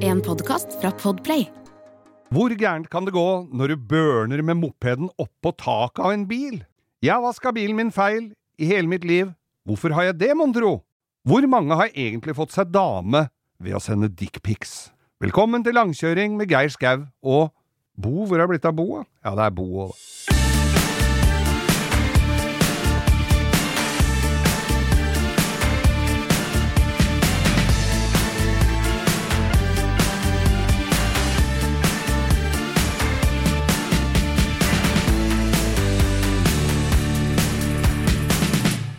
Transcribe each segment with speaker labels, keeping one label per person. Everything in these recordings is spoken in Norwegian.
Speaker 1: en podkast fra Podplay.
Speaker 2: Hvor gærent kan det gå når du børner med mopeden oppå taket av en bil? Jeg har vaska bilen min feil i hele mitt liv. Hvorfor har jeg det, mon tro? Hvor mange har egentlig fått seg dame ved å sende dickpics? Velkommen til langkjøring med Geir Skau og Bo, hvor er det blitt av Bo? da? Ja, det er Bo òg.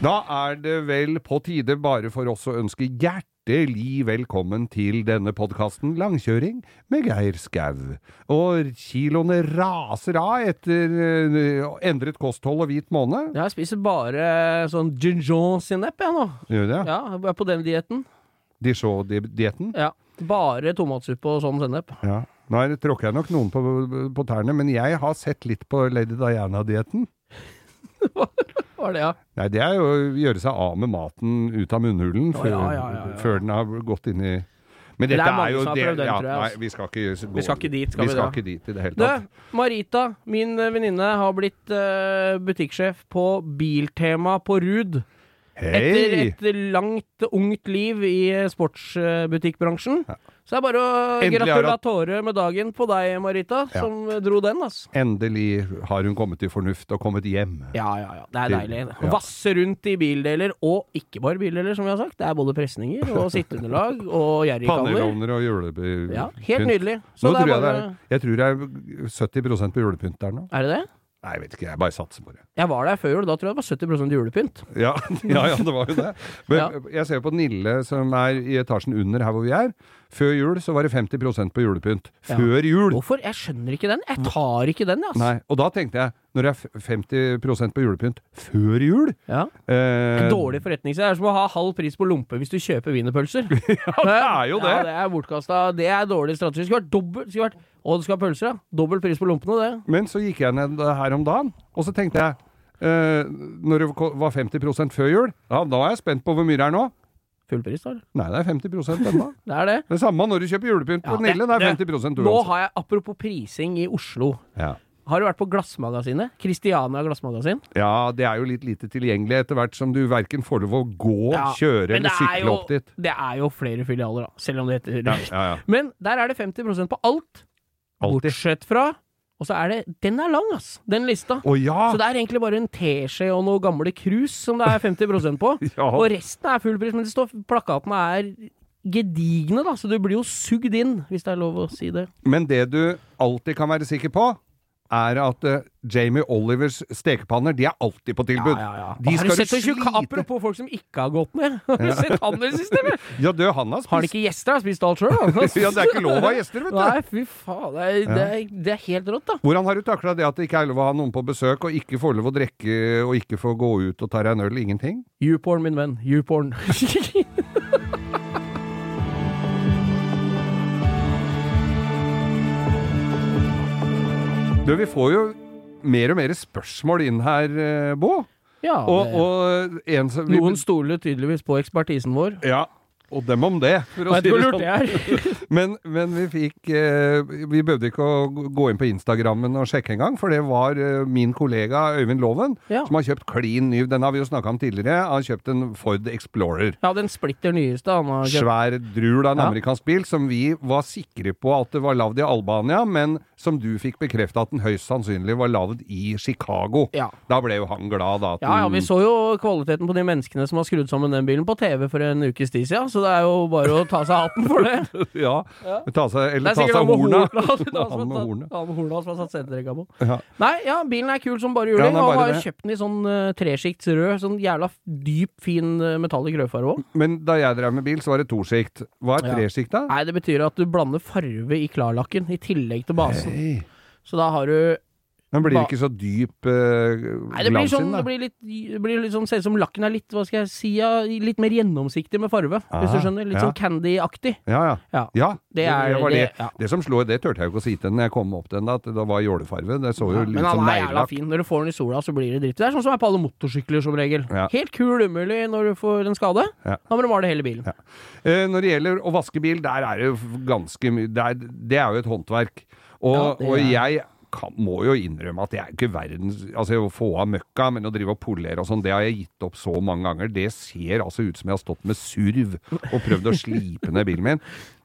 Speaker 2: Da er det vel på tide bare for oss å ønske hjertelig velkommen til denne podkasten Langkjøring med Geir Skau. Og kiloene raser av etter eh, endret kosthold og hvit måned.
Speaker 3: Jeg spiser bare sånn Dijon-sennep, jeg nå.
Speaker 2: Gjør det?
Speaker 3: Ja, jeg er på den dietten.
Speaker 2: Dijon-dietten.
Speaker 3: Ja. Bare tomatsuppe og sånn sennep.
Speaker 2: Ja. Nå er det- tråkker jeg nok noen på, på tærne, men jeg har sett litt på Lady Diana-dietten.
Speaker 3: Var det, ja.
Speaker 2: Nei, det er jo å gjøre seg av med maten ut av munnhulen
Speaker 3: Å,
Speaker 2: før,
Speaker 3: ja, ja, ja, ja.
Speaker 2: før den har gått inn i Men
Speaker 3: Det er
Speaker 2: dette er,
Speaker 3: mange
Speaker 2: jo
Speaker 3: som har
Speaker 2: det
Speaker 3: prøvd den,
Speaker 2: ja,
Speaker 3: tror jeg,
Speaker 2: Nei,
Speaker 3: altså.
Speaker 2: vi skal ikke s- gå
Speaker 3: Vi skal ikke dit, skal vi
Speaker 2: skal
Speaker 3: da?
Speaker 2: ikke dit i det hele
Speaker 3: Du,
Speaker 2: tatt.
Speaker 3: Marita, min eh, venninne, har blitt eh, butikksjef på Biltema på Rud. Etter
Speaker 2: Hei!
Speaker 3: et langt, ungt liv i eh, sportsbutikkbransjen. Så det er bare å
Speaker 2: Endelig har hun-
Speaker 3: gratulere med dagen på deg, Marita,
Speaker 2: Ja.
Speaker 3: som dro den, altså.
Speaker 2: Endelig har hun kommet til fornuft og kommet hjem.
Speaker 3: Ja, ja, ja. Det er
Speaker 2: Til-
Speaker 3: deilig.
Speaker 2: ja.
Speaker 3: Vasse rundt i bildeler, og ikke bare bildeler, som vi har sagt. Det er både presninger og sitteunderlag og gjerrigkanner.
Speaker 2: Pannelovner og julepynt.
Speaker 3: Ja, helt nydelig. Så
Speaker 2: Nå tror
Speaker 3: det
Speaker 2: jeg,
Speaker 3: er
Speaker 2: det
Speaker 3: bare
Speaker 2: er, jeg tror det er 70 på julepynt der nå.
Speaker 3: Er det det?
Speaker 2: Nei, jeg vet ikke, jeg bare satser på det.
Speaker 3: Jeg var der før jul, da tror jeg det var 70 julepynt.
Speaker 2: Ja, ja, ja, det var jo det. Men
Speaker 3: Ja.
Speaker 2: jeg ser på Nille, som er i etasjen under her hvor vi er. Før jul så var det 50 på julepynt.
Speaker 3: Ja.
Speaker 2: Før jul!
Speaker 3: Hvorfor? Jeg skjønner ikke den. Jeg tar ikke den, altså.
Speaker 2: Nei, og da tenkte jeg, når det er f- 50 på julepynt før jul
Speaker 3: Ja.
Speaker 2: eh,
Speaker 3: Dårlig forretningsidé. Det er som å ha halv pris på lompe hvis du kjøper wienerpølser. ja,
Speaker 2: det er jo
Speaker 3: Ja,
Speaker 2: det.
Speaker 3: det er bortkasta. Det er dårlig strategi. Det Skulle vært dobbelt skulle vært, Å, du skal ha pølser, ja. Dobbel pris på lompene, det.
Speaker 2: Men så gikk jeg ned her om dagen, og så tenkte jeg eh, Når det ko- var 50 før jul, ja, da er jeg spent på hvor mye det er nå.
Speaker 3: Full pris, da. eller?
Speaker 2: Nei, det er 50 ennå.
Speaker 3: Det er det.
Speaker 2: Det samme når du kjøper julepynt på
Speaker 3: Ja,
Speaker 2: Nille, det er 50
Speaker 3: det- Nå
Speaker 2: uansett.
Speaker 3: har jeg, apropos prising i Oslo,
Speaker 2: Ja.
Speaker 3: har du vært på Glassmagasinet? Christiania Glassmagasin?
Speaker 2: ja, det er jo litt lite tilgjengelig etter hvert som du verken får lov å gå,
Speaker 3: Ja,
Speaker 2: kjøre
Speaker 3: men
Speaker 2: eller
Speaker 3: det er
Speaker 2: sykle
Speaker 3: jo-
Speaker 2: opp dit.
Speaker 3: Det er jo flere filialer, da. Selv om det heter
Speaker 2: Ja, ja, ja.
Speaker 3: Men der er det 50 på alt.
Speaker 2: Alltid.
Speaker 3: Bortsett fra Og så er det Den er lang, ass! Den lista.
Speaker 2: Å ja!
Speaker 3: Så det er egentlig bare en teskje og noen gamle krus som det er 50 på.
Speaker 2: Ja.
Speaker 3: Og resten er full pris, men det står plakatene er gedigne, da, så du blir jo sugd inn, hvis det er lov å si det.
Speaker 2: Men det du alltid kan være sikker på, er at eh, Jamie Olivers stekepanner, de er alltid på tilbud. De
Speaker 3: har du
Speaker 2: skal
Speaker 3: sett så tjukk Apropos folk som ikke har gått ned. Har du sett han i det siste, eller?
Speaker 2: Ja, du, han har
Speaker 3: Har han
Speaker 2: spist.
Speaker 3: ikke gjester? Har han spist alt sjøl, da?
Speaker 2: Ja, det er ikke lov å ha gjester, vet du.
Speaker 3: Nei, fy faen. Det er, det er, det er helt rått, da.
Speaker 2: Hvordan har du takla det at det ikke er lov å ha noen på besøk, og ikke får lov å drikke, og ikke får gå ut og ta deg en øl? Ingenting?
Speaker 3: Youporn, min venn. Youporn.
Speaker 2: Du, vi får jo mer og mer spørsmål inn her, eh, Bo.
Speaker 3: ja,
Speaker 2: Og,
Speaker 3: det,
Speaker 2: og en som vi-
Speaker 3: noen stoler tydeligvis på ekspertisen vår.
Speaker 2: Ja. Og dem om det, for å si
Speaker 3: Vet du
Speaker 2: det
Speaker 3: hvor lurt det
Speaker 2: sånn.
Speaker 3: er?
Speaker 2: Men, men vi fikk eh, Vi behøvde ikke å gå inn på Instagrammen og sjekke engang, for det var eh, min kollega Øyvind Loven
Speaker 3: Ja.
Speaker 2: som har kjøpt klin ny. Den har vi jo snakka om tidligere. Han har kjøpt en Ford Explorer.
Speaker 3: Ja, den splitter nyeste han har kjøpt.
Speaker 2: svær drul av en
Speaker 3: Ja.
Speaker 2: amerikansk bil som vi var sikre på at det var lagd i Albania, men som du fikk bekrefta at den høyst sannsynlig var lagd i Chicago.
Speaker 3: Ja.
Speaker 2: Da ble jo han glad, da. At
Speaker 3: Ja, ja, vi
Speaker 2: den-
Speaker 3: så jo kvaliteten på de menneskene som har skrudd sammen den bilen på TV for en ukes tid siden, så det er jo bare å ta seg hatten for det.
Speaker 2: ja. Ta seg,
Speaker 3: Det
Speaker 2: eller
Speaker 3: er
Speaker 2: ta seg
Speaker 3: sikkert han med
Speaker 2: horna.
Speaker 3: horna. Det er
Speaker 2: Han med horna.
Speaker 3: Han med horna som har satt sendetrekka på.
Speaker 2: Ja.
Speaker 3: Nei, ja, bilen er kul som bare
Speaker 2: Ja,
Speaker 3: juling.
Speaker 2: den er
Speaker 3: og
Speaker 2: bare
Speaker 3: har
Speaker 2: det.
Speaker 3: kjøpt den i sånn uh, tresikts rød, sånn jævla f- dyp, fin uh, metallic rødfarge òg.
Speaker 2: Men da jeg drev med bil, så var det tosjikt. Hva er
Speaker 3: Ja.
Speaker 2: tresjikt, da?
Speaker 3: Nei, det altså. betyr at du blander farve i klarlakken i tillegg til basen.
Speaker 2: Hei.
Speaker 3: Så da har du
Speaker 2: Men blir det
Speaker 3: Ba-
Speaker 2: ikke så dyp eh,
Speaker 3: Nei, det blir
Speaker 2: glans
Speaker 3: sånn,
Speaker 2: inn, da?
Speaker 3: det blir litt, det blir litt sånn, ser ut som lakken er litt, hva skal jeg si, ja, litt mer gjennomsiktig med farve, hvis du
Speaker 2: Ah,
Speaker 3: skjønner. Litt
Speaker 2: ja.
Speaker 3: sånn candy-aktig.
Speaker 2: Ja, ja.
Speaker 3: Ja.
Speaker 2: ja
Speaker 3: Det er-
Speaker 2: var det,
Speaker 3: det-
Speaker 2: det,
Speaker 3: ja.
Speaker 2: som slår, det turte jeg jo ikke å si til den når jeg kom opp til den, at det var jålefarve. Det så jo
Speaker 3: Ja,
Speaker 2: litt
Speaker 3: men han
Speaker 2: sånn
Speaker 3: er jævla
Speaker 2: neglelakk
Speaker 3: fin. Når du får den i sola, så blir det dritt. Det er sånn som er på alle motorsykler, som regel.
Speaker 2: Ja.
Speaker 3: Helt kul umulig når du får en skade.
Speaker 2: Ja.
Speaker 3: Da må du male hele bilen.
Speaker 2: Eh, når det gjelder å vaske bil, der er det jo f- ganske mye det, er- det er jo et håndverk. Og,
Speaker 3: Ja, det
Speaker 2: og
Speaker 3: er-
Speaker 2: jeg kan, må jo innrømme at jeg er ikke verdens Altså, å få av møkka, men å drive og polere og sånn, det har jeg gitt opp så mange ganger. Det ser altså ut som jeg har stått med surv og prøvd å slipe ned bilen min.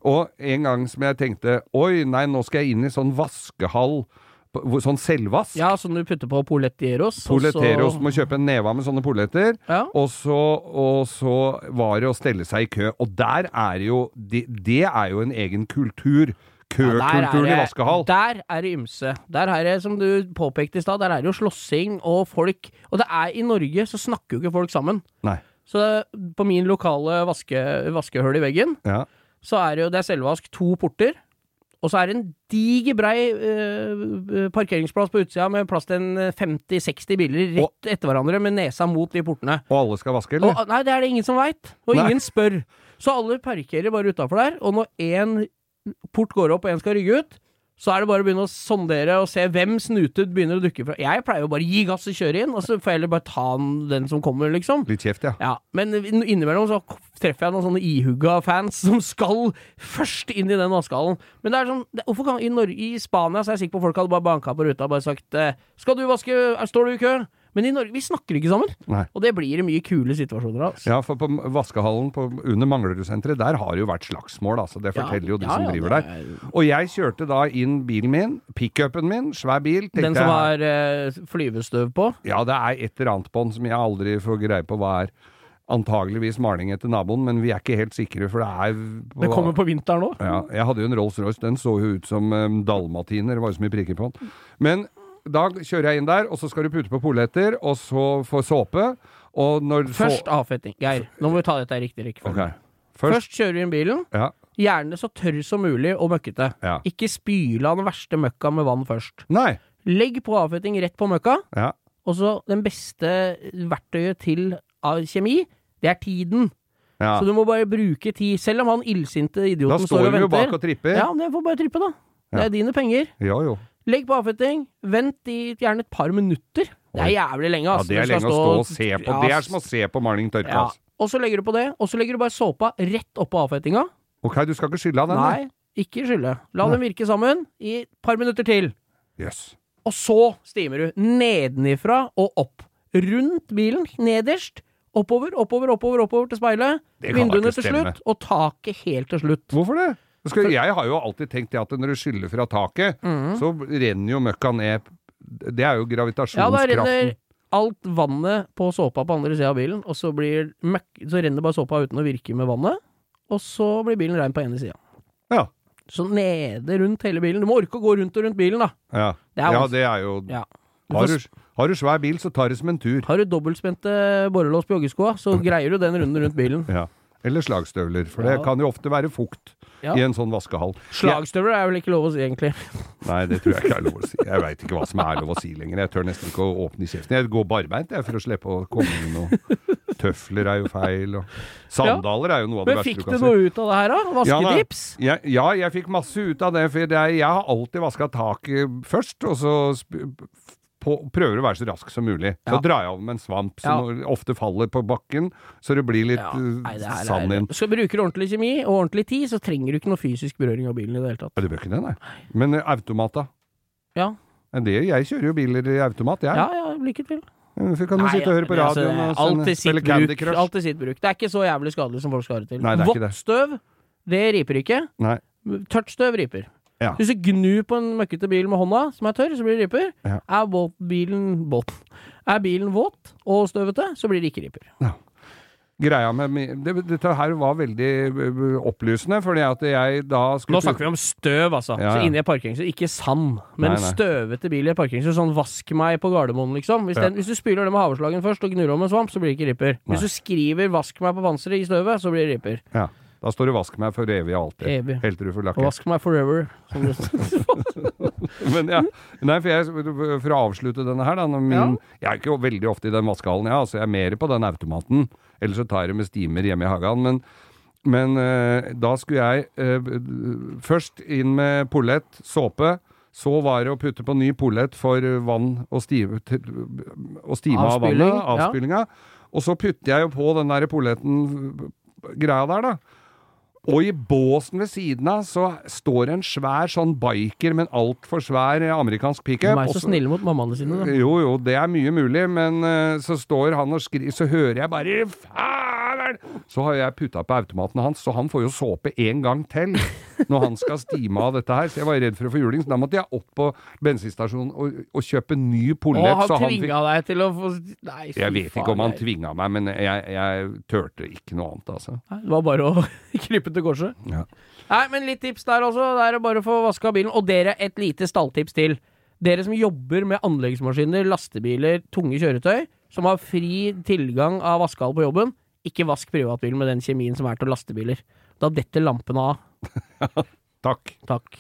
Speaker 2: Og en gang som jeg tenkte Oi, nei, nå skal jeg inn i sånn vaskehall. på- hvor- Sånn selvvask.
Speaker 3: Ja, som du putter på Poletieros. og så-
Speaker 2: Poleteros må kjøpe en neve av med sånne poleter.
Speaker 3: Ja.
Speaker 2: Og, så, og så var det å stelle seg i kø. Og der er jo Det, det er jo en egen kultur.
Speaker 3: Ja, der er
Speaker 2: Køkulturen
Speaker 3: det-
Speaker 2: i vaskehall.
Speaker 3: Der er det ymse. Der er det, som du påpekte i stad, der er det jo slåssing og folk Og det er i Norge så snakker jo ikke folk sammen.
Speaker 2: Nei.
Speaker 3: Så det- på min lokale vaske, vaskehull i veggen,
Speaker 2: Ja.
Speaker 3: så er det jo det er selvvask to porter. Og så er det en diger brei eh, parkeringsplass på utsida med plass til en 50-60 biler rett etter hverandre med nesa mot de portene.
Speaker 2: Og alle skal vaske, eller?
Speaker 3: Og, nei, det er det ingen som veit, og
Speaker 2: Nei.
Speaker 3: ingen spør. Så alle parkerer bare utafor der, og når én port går opp og én skal rygge ut, så er det bare å begynne å sondere og se hvem snutet begynner å dukke fra. Jeg pleier jo bare å gi gass og kjøre inn, og så får jeg heller bare ta den- den som kommer, liksom.
Speaker 2: Litt kjeft, ja.
Speaker 3: Ja, Men innimellom så treffer jeg noen sånne ihugga fans som skal først inn i den vaskehallen. Men det er sånn, det, hvorfor kan i, Nor i Spania så er jeg sikker på folk hadde bare banka på ruta og bare sagt eh, 'Skal du vaske? Er- Står du i kø?' Men i Norge, vi snakker ikke sammen.
Speaker 2: Nei.
Speaker 3: Og det blir det mye kule situasjoner av. altså.
Speaker 2: Ja, for på vaskehallen på, under Manglerudsenteret, der har det jo vært slagsmål, altså. Det
Speaker 3: Ja,
Speaker 2: forteller jo de
Speaker 3: ja,
Speaker 2: som
Speaker 3: ja,
Speaker 2: driver
Speaker 3: det
Speaker 2: der. Og jeg kjørte da inn bilen min, pickupen min, svær bil. tenkte
Speaker 3: Den som
Speaker 2: jeg,
Speaker 3: har eh, flyvestøv på?
Speaker 2: Ja, det er et eller annet på den som jeg aldri får greie på hva er. Antageligvis maling etter naboen, men vi er ikke helt sikre, for det er på-
Speaker 3: Det kommer på vinteren òg.
Speaker 2: Ja, jeg hadde jo en Rolls-Royce, den så jo ut som um, dalmatiner, det var jo så mye prikker på den. Men da kjører jeg inn der, og så skal du pute på poletter, og så få såpe, og når så-
Speaker 3: Først avfetting. Geir, nå må vi ta dette i riktig
Speaker 2: Ok.
Speaker 3: rekkefølge.
Speaker 2: Først,
Speaker 3: Først kjører du inn bilen.
Speaker 2: Ja.
Speaker 3: Gjerne så tørr som mulig og møkkete.
Speaker 2: Ja.
Speaker 3: Ikke spyle av den verste møkka med vann først.
Speaker 2: Nei.
Speaker 3: Legg på avfetting rett på møkka,
Speaker 2: Ja.
Speaker 3: og så den beste verktøyet til av kjemi, det er tiden.
Speaker 2: ja.
Speaker 3: Så du må bare bruke tid. Selv om han illsinte
Speaker 2: Da
Speaker 3: idioten står
Speaker 2: står
Speaker 3: og
Speaker 2: vi jo
Speaker 3: venter.
Speaker 2: bak og tripper.
Speaker 3: Ja, men jeg får bare trippe, da. Det
Speaker 2: Ja.
Speaker 3: er dine penger.
Speaker 2: Jo, jo.
Speaker 3: Legg på avfetting. Vent i gjerne et par minutter. Det er jævlig lenge.
Speaker 2: Ja,
Speaker 3: ass.
Speaker 2: det er
Speaker 3: Altså, Du skal
Speaker 2: lenge å stå og se på.
Speaker 3: Ja,
Speaker 2: Det er som å se på maling tørke,
Speaker 3: ja.
Speaker 2: altså.
Speaker 3: Og så legger du på det, og så legger du bare såpa rett oppå avfettinga.
Speaker 2: Ok, du skal ikke skylde av den? da?
Speaker 3: Nei, ikke skylle. La dem virke sammen i et par minutter til.
Speaker 2: Jøss.
Speaker 3: Og så stimer du nedenifra og opp. Rundt bilen, nederst. Oppover, oppover, oppover, oppover til speilet.
Speaker 2: Det kan da
Speaker 3: Vinduene
Speaker 2: ikke
Speaker 3: til slutt, og taket helt til slutt.
Speaker 2: Hvorfor det? Det Skal, jeg har jo alltid tenkt det at når du skyller fra taket, så renner jo møkka ned. Det er jo
Speaker 3: Mhm. Ja, da
Speaker 2: gravitasjonskraften.
Speaker 3: renner alt vannet på såpa på andre sida av bilen, og så, blir møkk, så renner bare såpa uten å virke med vannet. Og så blir bilen rein på ene sida.
Speaker 2: Ja.
Speaker 3: Så nede rundt hele bilen. Du må orke å gå rundt og rundt bilen, da.
Speaker 2: Ja.
Speaker 3: Det
Speaker 2: ja,
Speaker 3: er vanskelig.
Speaker 2: det er jo
Speaker 3: Ja. Du
Speaker 2: har,
Speaker 3: får-
Speaker 2: du, har du svær bil, så tar det som en tur.
Speaker 3: Har du dobbeltspente borrelås på joggeskoa, så greier du den runden rundt bilen.
Speaker 2: Ja. Eller slagstøvler, for det
Speaker 3: Ja.
Speaker 2: kan jo ofte være fukt
Speaker 3: Ja.
Speaker 2: i en sånn vaskehall.
Speaker 3: Slagstøvler er vel ikke lov å si, egentlig.
Speaker 2: Ja. Nei, det tror jeg ikke er lov å si. Jeg veit ikke hva som er lov å si lenger. Jeg tør nesten ikke å åpne kjeften. Jeg går barbeint jeg, for å slippe å komme inn noe. Tøfler er jo feil, og Sandaler er jo noe av det
Speaker 3: Men
Speaker 2: verste
Speaker 3: fikk
Speaker 2: du
Speaker 3: du
Speaker 2: kan si.
Speaker 3: noe ut av det her, da?
Speaker 2: Ja, da.
Speaker 3: Vasketips?
Speaker 2: Ja, ja, jeg fikk masse ut av det, for det er, jeg har alltid vaska taket først, og så sp- på, prøver å være så rask som mulig. Så
Speaker 3: Ja.
Speaker 2: drar jeg av med en svamp som ofte faller på bakken, så det blir litt
Speaker 3: Ja,
Speaker 2: eh,
Speaker 3: nei, det her
Speaker 2: sand
Speaker 3: er-
Speaker 2: inn.
Speaker 3: Så bruker du ordentlig kjemi og ordentlig tid, så trenger du ikke noe fysisk berøring av bilen i det hele tatt.
Speaker 2: Ja, du bør ikke det, nei. Men eh, automat, da?
Speaker 3: Ja.
Speaker 2: Men Det, jeg kjører jo biler i automat, jeg. Eh,
Speaker 3: Ja, ja, lykke til.
Speaker 2: Så kan du
Speaker 3: Nei,
Speaker 2: sitte og høre på
Speaker 3: men altså,
Speaker 2: radioen
Speaker 3: det er
Speaker 2: og sende,
Speaker 3: alltid sitt
Speaker 2: spille Candy
Speaker 3: bruk,
Speaker 2: Crush.
Speaker 3: Alltid sitt bruk. Det er ikke så jævlig skadelig som folk skal ha det til.
Speaker 2: Nei, det er ikke det.
Speaker 3: Våttstøv, det riper ikke.
Speaker 2: Nei.
Speaker 3: Tørt støv riper.
Speaker 2: Ja.
Speaker 3: Hvis du gnur på en møkkete bil med hånda, som er tørr, så blir det riper.
Speaker 2: Ja.
Speaker 3: Er våt bilen våt? Er bilen våt og støvete, så blir det ikke riper.
Speaker 2: Greia med mi- det, Dette her var veldig eh, opplysende, fordi at jeg da skulle
Speaker 3: Nå snakker vi om støv, altså.
Speaker 2: Ja, ja.
Speaker 3: Så inne i et parkeringshus. Ikke sand, men
Speaker 2: Nei, nei.
Speaker 3: støvete bil i et parkeringshus. Sånn vask meg på Gardermoen, liksom. Hvis,
Speaker 2: Ja.
Speaker 3: den, hvis du spyler det med haveslagen først og gnur om en svamp, så blir det ikke ripper. Hvis du skriver 'vask meg på panseret' i støvet, så blir det ripper.
Speaker 2: Ja. Da står det 'vask meg for evig og alltid'.
Speaker 3: Evig.
Speaker 2: Helt til du får
Speaker 3: Og
Speaker 2: lakke.
Speaker 3: Vask meg forever. som det-
Speaker 2: Men ja. Nei, for, jeg, for å avslutte denne her, da. når Min, Jeg
Speaker 3: Ja.
Speaker 2: er ikke veldig ofte i den vaskehallen, jeg. Altså, jeg er mer på den automaten. Ellers så tar jeg det med steamer hjemme i hagen. Men, men eh, da skulle jeg eh, b- først inn med polett, såpe. Så var det å putte på ny polett for vann og stive, til- og stime av
Speaker 3: Avspyling,
Speaker 2: vannet.
Speaker 3: ja.
Speaker 2: Avspylinga. Og så putter jeg jo på den der polletten greia der, da. Og i båsen ved siden av så står en svær sånn biker med en altfor svær eh, amerikansk
Speaker 3: De
Speaker 2: pickup.
Speaker 3: er
Speaker 2: og
Speaker 3: så
Speaker 2: så-
Speaker 3: snille mot mammaene sine, da.
Speaker 2: Jo, jo, det er mye mulig, men eh, så står han og skriver, så hører jeg bare Faen! Så har jeg putta på automaten hans, så han får jo såpe en gang til når han skal stime av dette her. Så jeg var redd for å få juling, så da måtte jeg opp på bensinstasjonen og, og kjøpe ny
Speaker 3: Å,
Speaker 2: pollett.
Speaker 3: han
Speaker 2: så han fikk-
Speaker 3: tvinga deg til å få Nei, fy
Speaker 2: Jeg vet ikke om
Speaker 3: faen,
Speaker 2: han
Speaker 3: jeg-
Speaker 2: tvinga meg, men jeg, jeg turte ikke noe annet, altså.
Speaker 3: Nei, Det var bare å krype til korset.
Speaker 2: Ja.
Speaker 3: Nei, men litt tips der også. Det er å bare få vaska bilen. Og dere, et lite stalltips til. Dere som jobber med anleggsmaskiner, lastebiler, tunge kjøretøy, som har fri tilgang av vaskehall på jobben, ikke vask privatbilen med den kjemien som er til lastebiler. Da detter lampene av.
Speaker 2: Takk.
Speaker 3: Takk.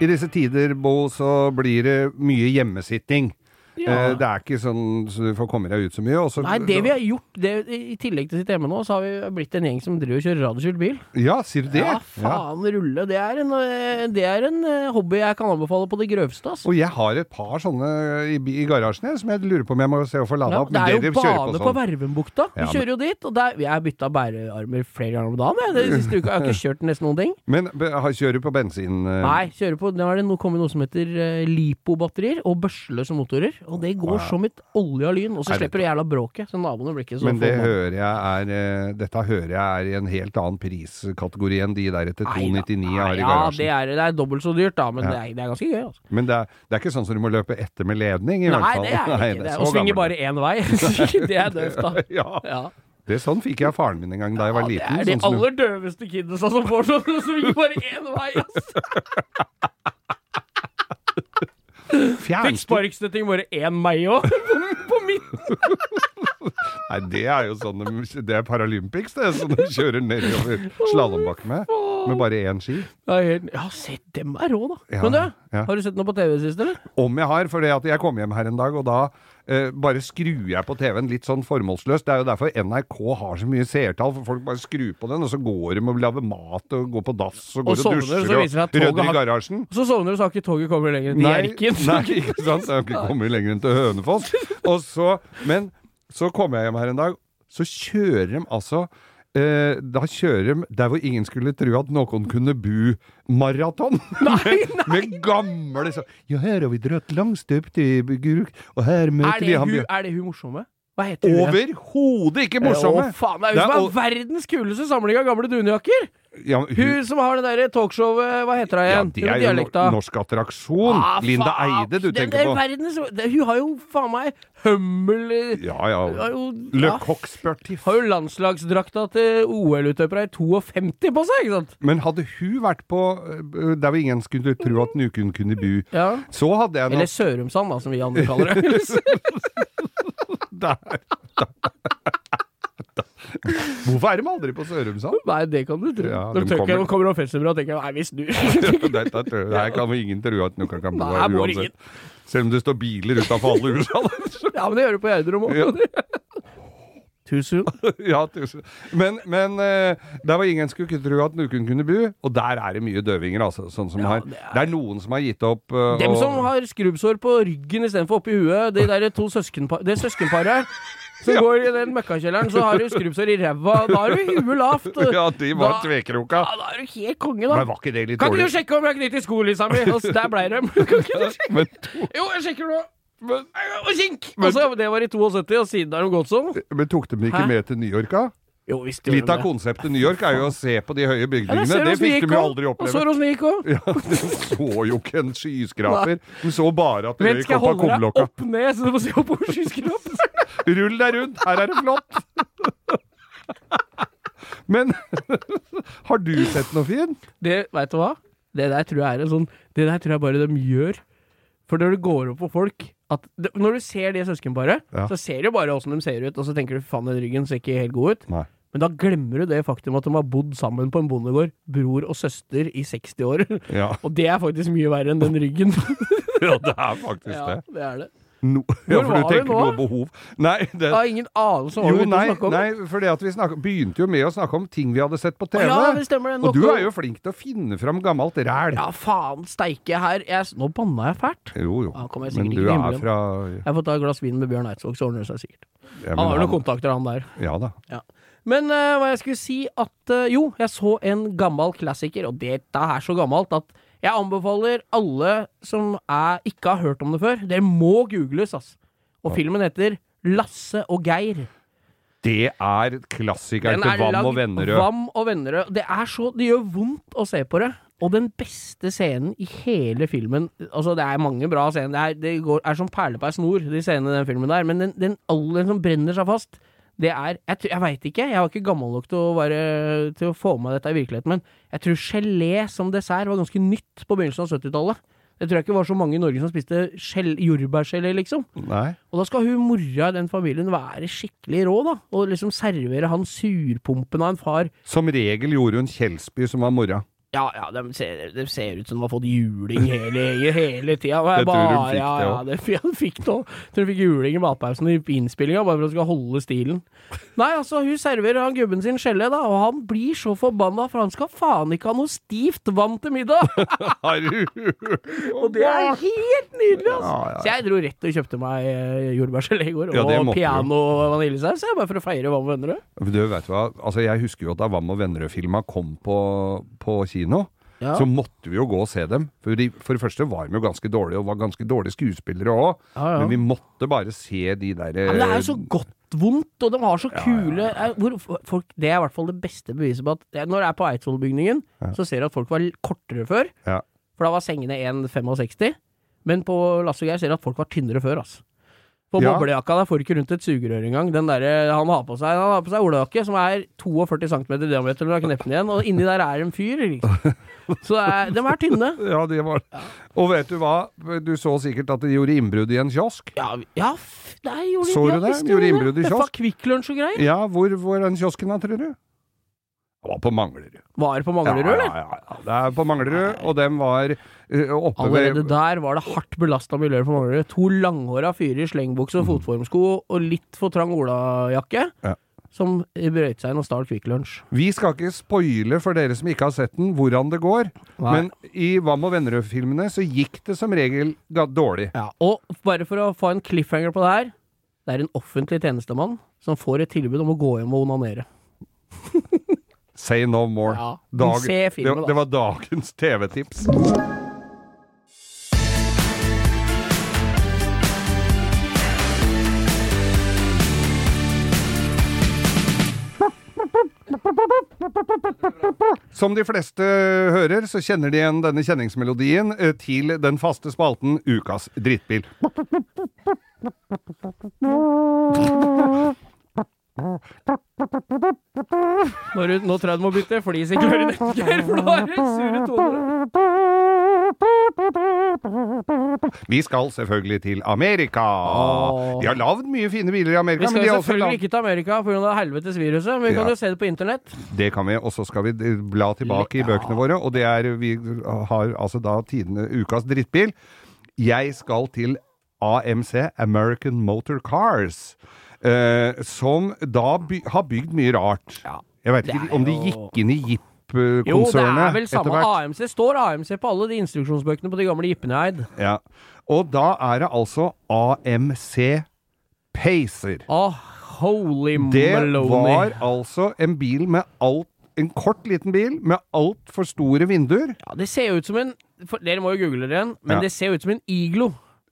Speaker 2: I disse tider, Bo, så blir det mye hjemmesitting. Eh,
Speaker 3: Ja.
Speaker 2: det er ikke sånn så du får komme deg ut så mye. og så-
Speaker 3: Nei, det vi har gjort, det, i tillegg til sitt hjemme nå, så har vi blitt en gjeng som driver og kjører radioskjult bil.
Speaker 2: Ja, sier du det?
Speaker 3: Ja,
Speaker 2: Ja.
Speaker 3: faen rulle. Det er, en, eh, det er en eh, hobby jeg kan anbefale på det grøvste, altså.
Speaker 2: Og jeg har et par sånne i, bi- i garasjen jeg, som jeg lurer på om jeg må se å få lada
Speaker 3: Ja,
Speaker 2: opp.
Speaker 3: det
Speaker 2: men
Speaker 3: er jo
Speaker 2: dere kjører
Speaker 3: bane på,
Speaker 2: sånn.
Speaker 3: Vervenbukta. Vi
Speaker 2: Ja, men-
Speaker 3: kjører jo dit. Og der, jeg har bytta bærearmer flere ganger om dagen. Jeg, den siste uka. jeg har ikke kjørt nesten noen ting.
Speaker 2: Men be- har- kjører du på bensin? eh,
Speaker 3: Nei, kjører på, nå er det nå kommet noe som heter eh, lipobatterier og børsle som motorer. Og det går som et olje av lyn. Og så
Speaker 2: Er det-
Speaker 3: slipper du jævla bråket, så naboene blir ikke så
Speaker 2: Men det
Speaker 3: forbanna.
Speaker 2: hører jeg er, eh, dette hører jeg er i en helt annen priskategori enn de der etter
Speaker 3: Nei,
Speaker 2: 299 jeg
Speaker 3: nei,
Speaker 2: har i
Speaker 3: ja,
Speaker 2: garasjen.
Speaker 3: det er, det er dobbelt så dyrt, da, men
Speaker 2: Ja.
Speaker 3: det, er, det er ganske gøy. Altså.
Speaker 2: Men det er, det er ikke sånn som du må løpe etter med ledning, i
Speaker 3: Nei,
Speaker 2: hvert fall.
Speaker 3: det er det ikke.
Speaker 2: det
Speaker 3: Det
Speaker 2: er
Speaker 3: er, og
Speaker 2: så
Speaker 3: svinger
Speaker 2: gammel.
Speaker 3: bare én vei. det er døvt, da.
Speaker 2: Ja,
Speaker 3: Ja.
Speaker 2: det er sånn fikk jeg av faren min en gang da jeg var
Speaker 3: Ja,
Speaker 2: liten.
Speaker 3: det er de
Speaker 2: sånn som-
Speaker 3: aller døveste kidsa som får sånn, som svinger bare én vei, ass. Fikk
Speaker 2: Fjernstyrt
Speaker 3: sparkstøtting bare én meg òg, på midten.
Speaker 2: Nei, det er jo sånn de, Det er Paralympics, det, som de kjører nedover slalåmbakken med. Med bare én ski.
Speaker 3: Ja, se, dem er rå, da.
Speaker 2: Ja,
Speaker 3: Men du,
Speaker 2: ja.
Speaker 3: har du sett noe på TV sist, eller?
Speaker 2: Om jeg har, for det at jeg kom hjem her en dag, og da eh, bare skrur jeg på TV-en litt sånn formålsløst. Det er jo derfor NRK har så mye seertall, for folk bare skrur på den, og så går de og lager mat og går på dass og
Speaker 3: Og
Speaker 2: går og,
Speaker 3: sovner, så
Speaker 2: dusjer
Speaker 3: viser det at
Speaker 2: og
Speaker 3: toget
Speaker 2: rydder i
Speaker 3: har-
Speaker 2: garasjen.
Speaker 3: Så sovner du, så har ikke toget kommet lenger til
Speaker 2: Nei,
Speaker 3: Hjerkinn.
Speaker 2: nei, ikke sant? Jeg har ikke kommet lenger enn til Hønefoss. Og så, men så kom jeg hjem her en dag, så kjører de altså eh, da kjører de der hvor ingen skulle tro at noen kunne bu maraton.
Speaker 3: Nei, nei.
Speaker 2: Med gamle så, Ja, her har vi dratt langstøpt til Guruk, og her
Speaker 3: Er
Speaker 2: møter vi
Speaker 3: det,
Speaker 2: ham
Speaker 3: hun,
Speaker 2: Bjørn.
Speaker 3: er det hun morsomme? Hva heter hun? igjen?
Speaker 2: Overhodet ikke morsomme!
Speaker 3: Å, faen, det er hun
Speaker 2: Det er
Speaker 3: som
Speaker 2: o-
Speaker 3: har verdens kuleste samling av gamle dunjakker!
Speaker 2: Ja, men hun,
Speaker 3: Hun som har det derre talkshowet, hva heter hun
Speaker 2: ja,
Speaker 3: igjen?
Speaker 2: det er
Speaker 3: Hun
Speaker 2: jo
Speaker 3: med
Speaker 2: no-
Speaker 3: dialekta.
Speaker 2: norsk attraksjon.
Speaker 3: Ah,
Speaker 2: Linda
Speaker 3: faen.
Speaker 2: Eide du
Speaker 3: Den
Speaker 2: tenker
Speaker 3: der
Speaker 2: på.
Speaker 3: Verdens, det, hun har jo faen meg Hummel i-
Speaker 2: Ja, ja.
Speaker 3: har jo-
Speaker 2: Le
Speaker 3: ja,
Speaker 2: Coq Sportif.
Speaker 3: Har jo landslagsdrakta til OL-utøpere i 52 på seg, ikke sant?
Speaker 2: Men hadde hun vært på øh, der hvor ingen skulle tro at Nukun kunne bu,
Speaker 3: Ja.
Speaker 2: så hadde jeg
Speaker 3: Eller
Speaker 2: nok
Speaker 3: Sørumsand, da, som vi andre kaller det.
Speaker 2: der, Hvorfor er de aldri på Sørumsand?
Speaker 3: Nei, det kan du tro.
Speaker 2: Ja,
Speaker 3: de
Speaker 2: de
Speaker 3: tør ikke
Speaker 2: kommer-
Speaker 3: de kommer og festnummer og tenker 'nei, vi snur'.
Speaker 2: Dette tror- Her kan vel ingen tro at noen kan bo
Speaker 3: Nei,
Speaker 2: her
Speaker 3: bor ingen.
Speaker 2: uansett. Selv om det står biler utafor alle husene.
Speaker 3: ja, men det gjør du på Gjerdrum òg.
Speaker 2: Ja.
Speaker 3: Too soon.
Speaker 2: ja, tusen. Men, men øh, der hvor ingen skulle tro at Nukun kunne bu, og der er det mye døvinger, altså. Sånn som
Speaker 3: Ja,
Speaker 2: har,
Speaker 3: det
Speaker 2: det,
Speaker 3: er-
Speaker 2: er... noen som har gitt opp øh,
Speaker 3: Dem
Speaker 2: og-
Speaker 3: som har skrubbsår på ryggen istedenfor oppi huet. De der to søskenpa- det søskenparet her. Som
Speaker 2: Ja.
Speaker 3: går i den møkkakjelleren, så har du skrubbsår i ræva. Da har du huet lavt.
Speaker 2: Ja, de var
Speaker 3: Da-
Speaker 2: tvekroka.
Speaker 3: Ja, da er du helt konge, da.
Speaker 2: Men var ikke det litt
Speaker 3: Kan
Speaker 2: dårlig?
Speaker 3: ikke du sjekke om jeg har knyttet skolissa mi? Og altså, der blei de. Kan ikke du sjekke?
Speaker 2: Men,
Speaker 3: Jo, jeg sjekker nå.
Speaker 2: men,
Speaker 3: Og kink! Og så, Altså, det var i 72, og siden har de gått sånn.
Speaker 2: men tok de ikke
Speaker 3: Hæ?
Speaker 2: med til New York, da?
Speaker 3: Jo, visst
Speaker 2: Litt av konseptet New York er jo å se på de høye bygningene. det fikk de jo aldri
Speaker 3: Og så
Speaker 2: oppleve.
Speaker 3: hvordan det gikk òg.
Speaker 2: Ja, de så jo ikke en skyskraper. De så bare at det
Speaker 3: Vent,
Speaker 2: røyk
Speaker 3: skal jeg
Speaker 2: opp av
Speaker 3: holde deg
Speaker 2: kumlokka.
Speaker 3: opp ned, så du må se oppover skyskraperen?
Speaker 2: Rull deg rundt, her er det flott! Men har du sett noe fint?
Speaker 3: Det, veit du hva? Det der tror jeg er en sånn Det der tror jeg bare de gjør. For når det går opp for folk at det, Når du ser det søskenparet,
Speaker 2: Ja.
Speaker 3: så ser du bare åssen de ser ut, og så tenker du faen, den ryggen ser ikke helt god ut.
Speaker 2: Nei.
Speaker 3: Men da glemmer du det faktum at de har bodd sammen på en bondegård, bror og søster, i 60 år.
Speaker 2: Ja,
Speaker 3: Og det er faktisk mye verre enn den ryggen.
Speaker 2: ja det er faktisk
Speaker 3: ja,
Speaker 2: det.
Speaker 3: det er det.
Speaker 2: No, ja, for du
Speaker 3: var vi
Speaker 2: tenker
Speaker 3: nå?
Speaker 2: noe behov. Nei, det,
Speaker 3: Jeg har ingen anelse om hva
Speaker 2: jo,
Speaker 3: vi
Speaker 2: nei,
Speaker 3: snakker om.
Speaker 2: nei fordi at vi snakket, begynte jo med å snakke om ting vi hadde sett på
Speaker 3: Å,
Speaker 2: TV.
Speaker 3: ja, det stemmer det.
Speaker 2: og du
Speaker 3: Noe-
Speaker 2: er jo flink til å finne fram gammelt ræl.
Speaker 3: Ja, faen steike her. Jeg, nå banna jeg fælt.
Speaker 2: Jo, jo.
Speaker 3: Ja, kommer jeg
Speaker 2: Men
Speaker 3: sikkert
Speaker 2: du
Speaker 3: ikke til
Speaker 2: er
Speaker 3: himmelen.
Speaker 2: fra
Speaker 3: Jeg får ta et glass vin med Bjørn Eidsvåg, så ordner Ah, det seg sikkert.
Speaker 2: ja, men
Speaker 3: Han har
Speaker 2: han-
Speaker 3: noen kontakter, han der.
Speaker 2: Ja da.
Speaker 3: Men eh, hva jeg skulle si at eh, Jo, jeg så en gammel klassiker, og dette er så gammelt at jeg anbefaler alle som er, ikke har hørt om det før, dere må googles, ass. Og filmen heter Lasse og Geir.
Speaker 2: Det er klassikeren til Vam og Vennerød.
Speaker 3: Vam og Vennerød. Det er så Det gjør vondt å se på det. Og den beste scenen i hele filmen Altså, det er mange bra scener. Det er, det går, er som perle på ei snor, de scenene i den filmen der. Men den, den aller som brenner seg fast, det er Jeg, tror- jeg veit ikke. Jeg var ikke gammel nok til å, være, til å få med dette i virkeligheten, men jeg tror gelé som dessert var ganske nytt på begynnelsen av 70-tallet. Jeg tror jeg ikke var så mange i Norge som spiste gel- jordbærgelé, liksom.
Speaker 2: Nei.
Speaker 3: Og da skal hun mora i den familien være skikkelig rå, da. Og liksom servere han surpumpen av en far.
Speaker 2: Som regel gjorde hun Kjelsby som var mora.
Speaker 3: Ja, ja, de ser, de ser ut som de har fått juling hele, hele tida. Og
Speaker 2: Det
Speaker 3: jeg
Speaker 2: tror hun
Speaker 3: bare-
Speaker 2: fikk
Speaker 3: ja,
Speaker 2: det
Speaker 3: ja,
Speaker 2: også.
Speaker 3: det fikk det òg. Fikk det også. Tror hun fikk juling i matpausen i innspillinga, bare for å skal holde stilen. Nei, altså, hun serverer han gubben sin gelé, da, og han blir så forbanna, for han skal faen ikke ha noe stivt vann til middag!
Speaker 2: Har du
Speaker 3: Og det er helt nydelig, altså!
Speaker 2: Ja, ja.
Speaker 3: Så jeg dro rett og kjøpte meg eh, jordbærgelé i går,
Speaker 2: Ja, det
Speaker 3: og
Speaker 2: måtte du.
Speaker 3: piano og vaniljesaus, jeg, bare for å feire hva med venner.
Speaker 2: Du vet du hva, altså jeg husker jo at da Vam og Vennerød-filma kom på, på kino,
Speaker 3: Ja.
Speaker 2: så måtte vi jo gå og se dem. For, de, for det første var de jo ganske dårlige, og var ganske dårlige skuespillere òg.
Speaker 3: Ja, ja.
Speaker 2: Men vi måtte bare se de der
Speaker 3: Ja, men det er jo så
Speaker 2: eh,
Speaker 3: godt vondt, og de har så kule eh, hvor, f- folk, Det er i hvert fall det beste beviset på at eh, når det er på Eidsvollbygningen, så ser du at folk var l- kortere før,
Speaker 2: ja.
Speaker 3: for da var sengene 1,65, men på Lasse og Geir ser du at folk var tynnere før, altså. På
Speaker 2: Ja.
Speaker 3: boblejakka der får du ikke rundt et sugerør engang. Den der, eh, han har på seg Han har på seg olajakke som er 42 cm i diameter når du har kneppen igjen, og inni der er en fyr, liksom. Så det er, de er tynne.
Speaker 2: eh, ja, det var Og vet du hva, du så sikkert at de gjorde innbrudd i en kiosk.
Speaker 3: Ja, vi- ja f- der gjorde
Speaker 2: Så du det? Gjorde innbrudd i kiosk?
Speaker 3: Kvikk Lunsj og greier.
Speaker 2: Ja, hvor var den kiosken da, tror du? Det var på Manglerud.
Speaker 3: Var det på Manglerud, eller?
Speaker 2: Ja, ja, ja. Det er på Manglerud, og dem var eh, oppe
Speaker 3: Allerede
Speaker 2: ved
Speaker 3: der var det hardt belasta miljøer for Manglerud. To langhåra fyrer i slengbukse og fotformsko og litt for trang olajakke,
Speaker 2: Mm. Ja.
Speaker 3: som brøyt seg inn og stal Kvikk Lunsj.
Speaker 2: Vi skal ikke spoile for dere som ikke har sett den, hvordan det går,
Speaker 3: Nei.
Speaker 2: men i Vam og Vennerød-filmene så gikk det som regel ga dårlig.
Speaker 3: Ja, og bare for å få en cliffhanger på det her, det er en offentlig tjenestemann som får et tilbud om å gå hjem og onanere.
Speaker 2: Say no more.
Speaker 3: Ja,
Speaker 2: Dag-
Speaker 3: se
Speaker 2: det,
Speaker 3: filmen, da.
Speaker 2: det var dagens TV-tips. Som de fleste hører, så kjenner de igjen denne kjenningsmelodien eh, til den faste spalten Ukas drittbil.
Speaker 3: Nå, Ruud, nå tror jeg du må bytte flis i klarinetten, Geir, for nå er det sure toner.
Speaker 2: Vi skal selvfølgelig til Amerika.
Speaker 3: Åh.
Speaker 2: De har lagd mye fine biler i Amerika.
Speaker 3: Vi skal
Speaker 2: men de
Speaker 3: jo
Speaker 2: har også
Speaker 3: selvfølgelig
Speaker 2: lagd-
Speaker 3: ikke til Amerika pga. helvetes viruset, men vi
Speaker 2: Ja.
Speaker 3: kan jo se det på internett.
Speaker 2: Det kan vi, og så skal vi eh, bla tilbake i
Speaker 3: Ja.
Speaker 2: bøkene våre, og det er Vi har altså da tidene, ukas drittbil. Jeg skal til AMC, American Motor Cars, eh, som da by har bygd mye rart.
Speaker 3: Ja.
Speaker 2: Jeg veit
Speaker 3: Det
Speaker 2: ikke
Speaker 3: er
Speaker 2: om de
Speaker 3: jo-
Speaker 2: gikk inn i eh,
Speaker 3: Jo, det er
Speaker 2: Jeep-konsernet
Speaker 3: vel samme AMC. Står AMC på alle de instruksjonsbøkene på de gamle jippene jeg eid?
Speaker 2: Ja. Og da er det altså AMC Pacer.
Speaker 3: Åh, Ah, holy
Speaker 2: Det
Speaker 3: maloney.
Speaker 2: var altså en bil med alt En kort, liten bil med altfor store vinduer.
Speaker 3: Ja, det ser jo ut som en for, Dere må jo google det igjen, men
Speaker 2: Ja.
Speaker 3: det ser jo ut som en iglo.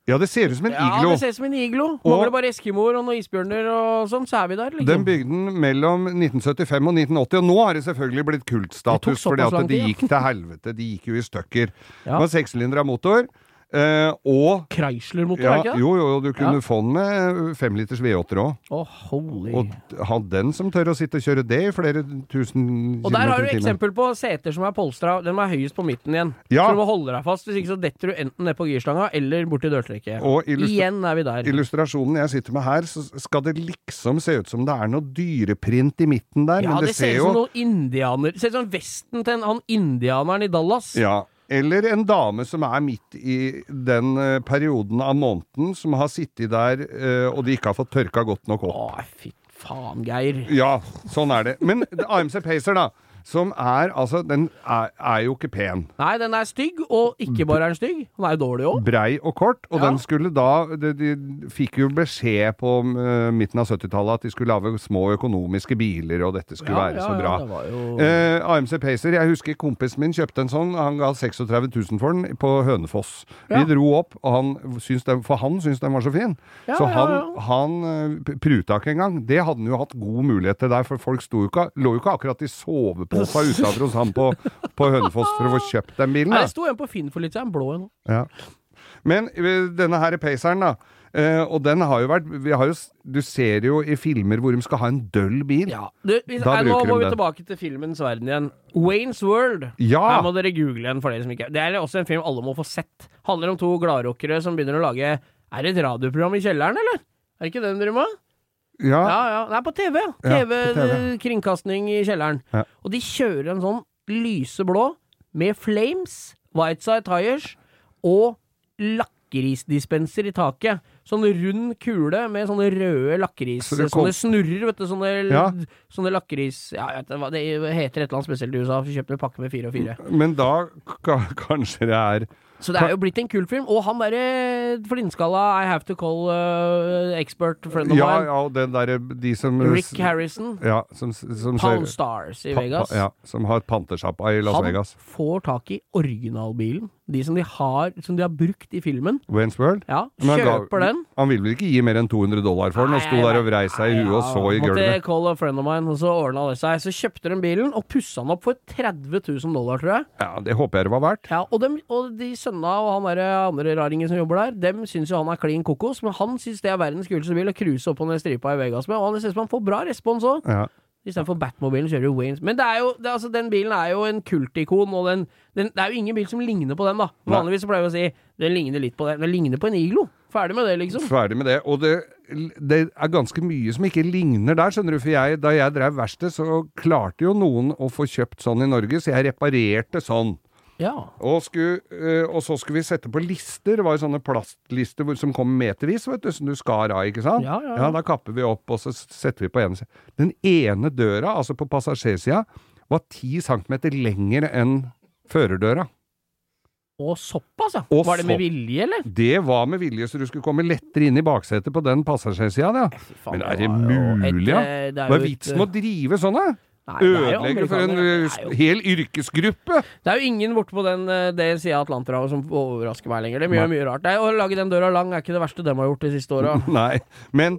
Speaker 2: Ja, det ser ut som en
Speaker 3: Ja,
Speaker 2: iglo.
Speaker 3: det ser ut som en iglo.
Speaker 2: Og-
Speaker 3: Mangler bare eskimoer og noen isbjørner og sånn, så er vi der,
Speaker 2: Den
Speaker 3: liksom.
Speaker 2: bygde den mellom 1975 og 1980, og nå har det selvfølgelig blitt
Speaker 3: Det tok
Speaker 2: kultstatus,
Speaker 3: såpass
Speaker 2: fordi at
Speaker 3: lang
Speaker 2: det
Speaker 3: tid, ja.
Speaker 2: gikk til helvete. De gikk jo i stykker.
Speaker 3: Ja.
Speaker 2: Det var sekssylindra motor. Eh, og
Speaker 3: Chrysler-motor,
Speaker 2: ja,
Speaker 3: er det ikke det?
Speaker 2: Jo, jo, jo, du kunne
Speaker 3: Ja.
Speaker 2: få den med femliters V8-er òg.
Speaker 3: Å, holy
Speaker 2: Og ha den som tør å sitte og kjøre det i flere tusen
Speaker 3: Og der har
Speaker 2: kilometer i
Speaker 3: du
Speaker 2: timen.
Speaker 3: eksempel på seter som er polstra. Den er høyest på midten igjen.
Speaker 2: Ja.
Speaker 3: Så du må holde deg fast, hvis ikke så detter du enten ned på girstanga eller borti dørtrekket.
Speaker 2: Og illustra
Speaker 3: Igjen er vi der.
Speaker 2: illustrasjonen jeg sitter med her, så skal det liksom se ut som det er noe dyreprint i midten der,
Speaker 3: Ja,
Speaker 2: men
Speaker 3: det,
Speaker 2: det,
Speaker 3: ser
Speaker 2: ser
Speaker 3: ut som
Speaker 2: jo
Speaker 3: noen indianer Ser ut som vesten til en, han indianeren i Dallas.
Speaker 2: ja. Eller en dame som er midt i den eh, perioden av måneden, som har sittet der eh, og de ikke har fått tørka godt nok opp.
Speaker 3: Å, fy faen, Geir.
Speaker 2: Ja, sånn er det. Men AMC Pacer, da, som er altså Den er, er jo ikke pen.
Speaker 3: Nei, den er stygg, og ikke bare er den stygg, han er jo dårlig òg.
Speaker 2: brei og kort, og
Speaker 3: Ja.
Speaker 2: den skulle da de, de fikk jo beskjed på eh, midten av 70-tallet at de skulle lage små økonomiske biler, og dette skulle være så bra.
Speaker 3: det var jo
Speaker 2: Eh, AMC Pacer, jeg husker kompisen min kjøpte en sånn, han ga 36 000 for den på Hønefoss.
Speaker 3: Ja.
Speaker 2: Vi dro opp, og han syns den, for han syntes den var så fin.
Speaker 3: Ja,
Speaker 2: så
Speaker 3: ja,
Speaker 2: han,
Speaker 3: ja.
Speaker 2: han eh, p- pruta ikke engang. Det hadde han jo hatt god mulighet til der, for folk sto jo ikke, lå jo ikke akkurat i soveposa utafor hos han på, på Hønefoss for å få kjøpt den bilen.
Speaker 3: Nei,
Speaker 2: da.
Speaker 3: det sto en på Finn for litt siden, en blå en.
Speaker 2: Ja. Men eh, denne her Paceren, da. eh, og den har jo vært vi har jo, s- Du ser jo i filmer hvor de skal ha en døll bil.
Speaker 3: Ja. Du, vi,
Speaker 2: Da
Speaker 3: nei, nå
Speaker 2: bruker de
Speaker 3: må vi
Speaker 2: den.
Speaker 3: tilbake til filmens verden igjen. Waynes World.
Speaker 2: Ja!
Speaker 3: Her må dere google den for dere som ikke Det er også en film alle må få sett. Handler om to gladrockere som begynner å lage Er det et radioprogram i kjelleren, eller? Er det ikke den dere må?
Speaker 2: Ja,
Speaker 3: Ja, ja. Det er på TV. ja.
Speaker 2: Ja,
Speaker 3: TV,
Speaker 2: på TV.
Speaker 3: eh, Kringkasting i kjelleren.
Speaker 2: Ja.
Speaker 3: Og de kjører en sånn lyseblå med flames, Whiteside tires og lakrisdispenser i taket. Sånn rund kule med sånne røde lakris...
Speaker 2: Så det kom-
Speaker 3: Sånne snurrer, vet du. Sånne,
Speaker 2: Ja.
Speaker 3: sånne lakris... Ja, jeg vet ikke hva det heter et eller annet spesielt i USA. for Vi kjøpte en pakke med fire og fire.
Speaker 2: Men da ka, kanskje det er
Speaker 3: Så det er jo blitt en kul film. Og han derre flintskalla I have to call eh, expert friend of
Speaker 2: Ja,
Speaker 3: mine,
Speaker 2: ja, og den derre De som
Speaker 3: Rick Harrison.
Speaker 2: Ja, som, s- som ser-
Speaker 3: Pound Stars i
Speaker 2: pa-
Speaker 3: Vegas.
Speaker 2: pa- Ja, som har pantersjappa i Las
Speaker 3: Han
Speaker 2: Vegas.
Speaker 3: får tak i originalbilen. De som de har, som de har brukt i filmen.
Speaker 2: Wayne's World.
Speaker 3: Ja,
Speaker 2: Men han ga-
Speaker 3: kjøper den.
Speaker 2: Han ville vel ikke gi mer enn 200 dollar for den, og sto der og vrei seg i huet og så i
Speaker 3: Måtte
Speaker 2: gulvet.
Speaker 3: call a friend of mine, og så ordna det seg. Så kjøpte de bilen og pussa den opp for 30 000 dollar, tror jeg.
Speaker 2: Ja, Det håper jeg det var verdt.
Speaker 3: Ja, og, dem, og de sønna og han der andre raringen som jobber der, dem syns jo han er klin kokos, men han syns det er verdens kuleste bil å cruise opp på den stripa i Vegas med, og han syns man får bra respons òg.
Speaker 2: Ja.
Speaker 3: Istedenfor Batmobilen kjører jo Waynes. Men det er jo, det, er altså, den bilen er jo en kultikon, og den, den, det er jo ingen bil som ligner på den, da.
Speaker 2: Nei.
Speaker 3: Vanligvis så pleier vi å si den ligner litt på den. Den ligner på en Iglo. Ferdig med det, liksom.
Speaker 2: Ferdig med det. Og det, det er ganske mye som ikke ligner der, skjønner du. For jeg, da jeg drev verksted, så klarte jo noen å få kjøpt sånn i Norge, så jeg reparerte sånn.
Speaker 3: Ja.
Speaker 2: Og, skulle, eh, og så skulle vi sette på lister. Det var jo sånne plastlister hvor- som kom metervis, vet du, som du skar av, ikke sant?
Speaker 3: Ja, ja, ja.
Speaker 2: da kapper vi opp, og så s- setter vi på ene siden. Den ene døra, altså på passasjersida, var ti centimeter lengre enn førerdøra.
Speaker 3: Og såpass, ja.
Speaker 2: Og
Speaker 3: Var det med
Speaker 2: sopp.
Speaker 3: vilje, eller?
Speaker 2: Det var med vilje, så du skulle komme lettere inn i baksetet på den passasjersida, ja.
Speaker 3: Fy faen,
Speaker 2: Men er det
Speaker 3: var jo
Speaker 2: mulig,
Speaker 3: et,
Speaker 2: ja?
Speaker 3: eh, Det
Speaker 2: Hva
Speaker 3: er
Speaker 2: er
Speaker 3: jo eh,
Speaker 2: vitsen med å drive sånn, da?
Speaker 3: Nei, det er jo
Speaker 2: Ødelegge for en eh,
Speaker 3: amerikanere. Det er jo-
Speaker 2: hel yrkesgruppe?
Speaker 3: Det er jo ingen borte på den eh, det sida av Atlanterhavet som overrasker meg lenger. Det er mye, mye rart. Det er, å lage den døra lang er ikke det verste de har gjort de siste åra.
Speaker 2: Nei. Men,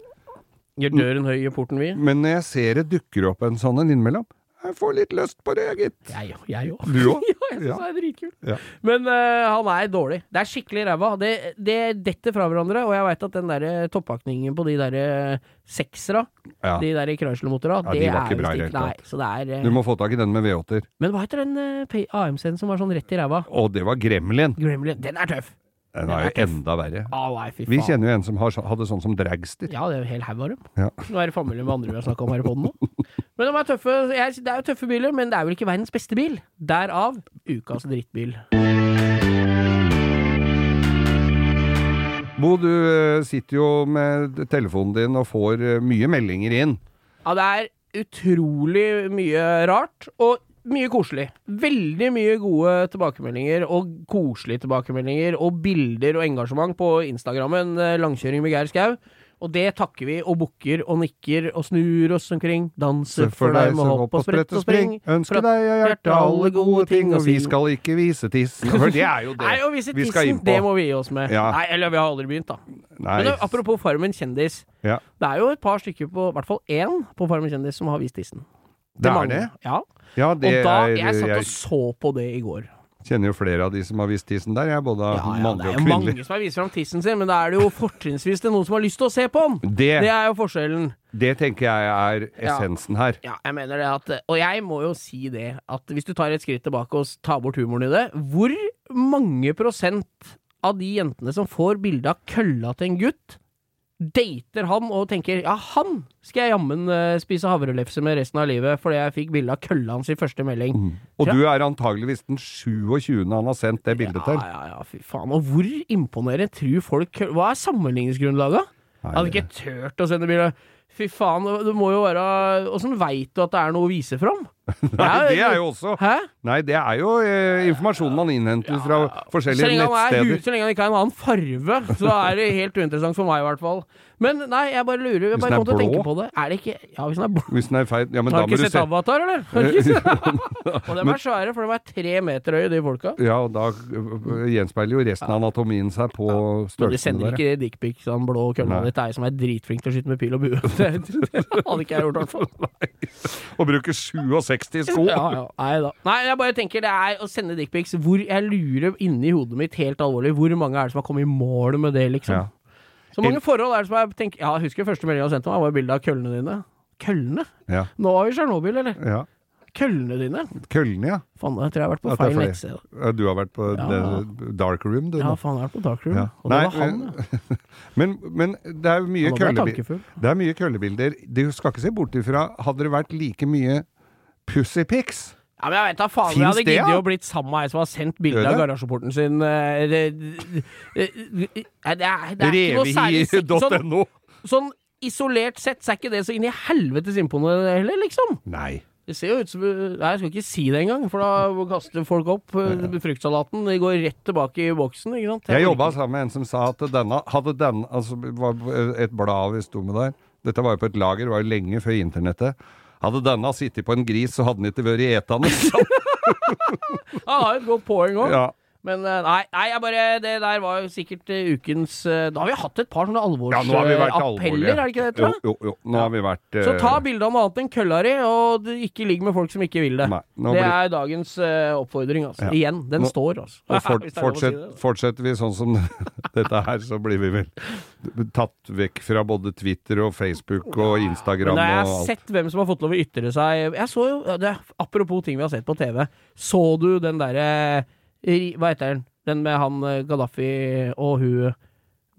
Speaker 3: Gjør døren høy, gjør porten vid.
Speaker 2: men når jeg ser det dukker opp en sånn en innimellom, jeg får litt lyst på det, gitt.
Speaker 3: Jeg òg. Jeg òg.
Speaker 2: Du òg?
Speaker 3: ja, jeg syns
Speaker 2: Ja.
Speaker 3: det er dritkult.
Speaker 2: Ja.
Speaker 3: Men eh, han er dårlig. Det er skikkelig ræva. Det, det detter fra hverandre, og jeg veit at den der toppakningen på de der eh, seksera,
Speaker 2: Ja.
Speaker 3: de der Chrysler-motora,
Speaker 2: Ja, de
Speaker 3: det
Speaker 2: var ikke
Speaker 3: er
Speaker 2: bra i det
Speaker 3: visst ikke
Speaker 2: hele
Speaker 3: Nei, så det er eh,
Speaker 2: Du må få tak i den med V8-er.
Speaker 3: Men hva heter den eh, P- AMC-en som var sånn rett i ræva?
Speaker 2: Og det var Gremlin.
Speaker 3: Gremlin. Den er tøff!
Speaker 2: Den er jo enda verre.
Speaker 3: Å nei, fy
Speaker 2: Vi
Speaker 3: faen.
Speaker 2: kjenner jo en som har, så- hadde sånn som dragster.
Speaker 3: Ja, det er jo en hel haug av dem.
Speaker 2: Ja.
Speaker 3: Nå er det familie med andre vi har snakka om her i poden nå. Men de er tøffe. Jeg, det er jo tøffe biler, men det er vel ikke verdens beste bil. Derav ukas drittbil.
Speaker 2: Bo, du eh, sitter jo med telefonen din og får eh, mye meldinger inn.
Speaker 3: Ja, det er utrolig mye rart, og mye koselig. Veldig mye gode tilbakemeldinger, og koselige tilbakemeldinger, og bilder og engasjement på Instagrammen eh, Langkjøring med Geir Skau. Og det takker vi, og bukker og nikker og snur oss omkring. Danse for deg med hopp og sprett og spring.
Speaker 2: Ønsker
Speaker 3: For at-
Speaker 2: deg av hjertet alle gode ting, og vi skal ikke vise tissen. For det er jo det
Speaker 3: Nei, å vise
Speaker 2: vi skal
Speaker 3: tissen,
Speaker 2: inn på.
Speaker 3: det må vi gi oss med.
Speaker 2: Ja.
Speaker 3: Nei, eller vi har aldri begynt, da.
Speaker 2: Nei.
Speaker 3: Men da, apropos Farmen kjendis.
Speaker 2: Ja.
Speaker 3: Det er jo et par stykker på, i hvert fall én på Farmen kjendis som har vist tissen.
Speaker 2: Det er
Speaker 3: mangler.
Speaker 2: det?
Speaker 3: Ja.
Speaker 2: Ja, det
Speaker 3: og da,
Speaker 2: er
Speaker 3: jeg satt og så på det i går.
Speaker 2: Kjenner jo flere av de som har vist tissen der, jeg. Både
Speaker 3: Ja, ja, det
Speaker 2: mannlig
Speaker 3: er
Speaker 2: og
Speaker 3: jo
Speaker 2: kvinnelig.
Speaker 3: mange som har vist fram tissen sin, men da er det jo fortrinnsvis til noen som har lyst til å se på den.
Speaker 2: Det,
Speaker 3: Det
Speaker 2: det,
Speaker 3: er jo forskjellen.
Speaker 2: tenker jeg er essensen her.
Speaker 3: Ja, jeg mener det at Og jeg må jo si det, at hvis du tar et skritt tilbake og s- tar bort humoren i det, hvor mange prosent av de jentene som får bilde av kølla til en gutt, dater ham og tenker ja, han skal jeg jammen eh, spise havrelefse med resten av livet fordi jeg fikk bilde av kølla hans i første melding.
Speaker 2: Og du er antageligvis den 27. han har sendt det bildet til.
Speaker 3: Ja, ja, ja, fy faen. Og hvor imponerende tror folk kø- Hva er sammenligningsgrunnlaget? Jeg hadde ikke turt å sende bilde. Fy faen, det må jo være Åssen veit du at det er noe å vise fram?
Speaker 2: Nei, det er jo også
Speaker 3: Hæ?
Speaker 2: Nei, det er jo eh, informasjon man innhenter fra
Speaker 3: Så
Speaker 2: forskjellige
Speaker 3: lenge, han er, hu-
Speaker 2: nettsteder.
Speaker 3: så lenge han ikke har en annen farve, så er det helt uinteressant for meg, i hvert fall. Men nei, jeg bare lurer. Jeg
Speaker 2: Hvis
Speaker 3: bare
Speaker 2: den er
Speaker 3: kom til å tenke
Speaker 2: blå?
Speaker 3: på det. Er det ikke Ja, hvis den er blå
Speaker 2: Hvis den er feil Ja, men da
Speaker 3: Har
Speaker 2: må
Speaker 3: du ikke
Speaker 2: du
Speaker 3: sett
Speaker 2: se
Speaker 3: Avatar, eller? Har du ikke sett- Og de er svære, for de er tre meter høye, de folka.
Speaker 2: Ja, og da øh, gjenspeiler jo resten av anatomien seg på
Speaker 3: Men du
Speaker 2: størrelsen
Speaker 3: sender
Speaker 2: der.
Speaker 3: ikke dickpics av den blå kølla
Speaker 2: Nei.
Speaker 3: di til ei som er dritflink til å skyte med pil og bue. Det hadde ikke jeg gjort, i hvert fall.
Speaker 2: Og bruker 67 sko!
Speaker 3: Ja, ja. Nei da. Nei, jeg bare tenker det er å sende dickpics hvor jeg lurer inni hodet mitt helt alvorlig hvor mange er det som har kommet i mål med det, liksom.
Speaker 2: Ja.
Speaker 3: Så mange forhold er det som jeg tenker Ja, jeg husker første meldinga du sendte meg, var bilde av køllene dine. Køllene?
Speaker 2: Ja.
Speaker 3: Nå var vi i Tsjernobyl, eller?
Speaker 2: ja.
Speaker 3: Køllene dine?
Speaker 2: Køllene, ja.
Speaker 3: Faen, jeg tror jeg har vært på
Speaker 2: At det er
Speaker 3: feil
Speaker 2: flere.
Speaker 3: nettside.
Speaker 2: Ja, Du har vært på
Speaker 3: Ja.
Speaker 2: the dark room, du.
Speaker 3: Ja,
Speaker 2: nå.
Speaker 3: faen, jeg har vært på Dark Room.
Speaker 2: Ja.
Speaker 3: Og det
Speaker 2: Nei,
Speaker 3: var han, ja.
Speaker 2: Men, men det er jo mye
Speaker 3: Nå ble jeg
Speaker 2: køllebilder.
Speaker 3: tankefull.
Speaker 2: Det er mye køllebilder. Du skal ikke se bort ifra Hadde det vært like mye pussypics
Speaker 3: Ja, men jeg vet da faen om jeg
Speaker 2: Finns
Speaker 3: hadde
Speaker 2: det, ja?
Speaker 3: giddet å blitt sammen med ei som har sendt bilde
Speaker 2: Gjør
Speaker 3: av
Speaker 2: det?
Speaker 3: garasjeporten sin eh, det, det, det, det, er- det er ikke noe særlig sexy- sånn,
Speaker 2: Revehi.no.
Speaker 3: sånn isolert sett så er ikke det så inn i helvetes imponerende heller, liksom.
Speaker 2: Nei.
Speaker 3: Det ser jo ut som Nei, jeg skal ikke si det engang, for da kaster folk opp eh, fruktsalaten. De går rett tilbake i boksen, ikke sant?
Speaker 2: Jeg altså. jobba sammen med en som sa at denne hadde den Altså, det var et blad vi sto med der. Dette var jo på et lager, det var jo lenge før internettet. Hadde denne sittet på en gris, så hadde den ikke vært etende.
Speaker 3: Han har jo et godt poeng òg.
Speaker 2: ja.
Speaker 3: Men eh, nei, nei, jeg bare Det der var jo sikkert eh, ukens eh, Da har vi hatt et par sånne
Speaker 2: ja, nå har vi vært
Speaker 3: alvorsappeller,
Speaker 2: alvorlige.
Speaker 3: er det ikke det?
Speaker 2: Jo,
Speaker 3: Tror jeg?
Speaker 2: jo, jo. Nå har vi vært
Speaker 3: Så
Speaker 2: eh,
Speaker 3: ta bilde av noe annet enn kølla di, og du- ikke ligg med folk som ikke vil det.
Speaker 2: Nei, nå
Speaker 3: det
Speaker 2: blir-
Speaker 3: er dagens eh, oppfordring, altså.
Speaker 2: Ja.
Speaker 3: Igjen. Den
Speaker 2: Nå-
Speaker 3: står, altså.
Speaker 2: Og fort,
Speaker 3: Hvis det er lov å si
Speaker 2: fortsett,
Speaker 3: det, da.
Speaker 2: fortsetter vi sånn som dette her, så blir vi vel tatt vekk fra både Twitter og Facebook og Instagram
Speaker 3: Men da
Speaker 2: og
Speaker 3: har jeg
Speaker 2: alt.
Speaker 3: sett hvem som har fått lov å ytre seg Jeg så jo, ja, det, er- Apropos ting vi har sett på TV, så du den derre eh, Hva heter den? Den med han eh, Gaddafi og hun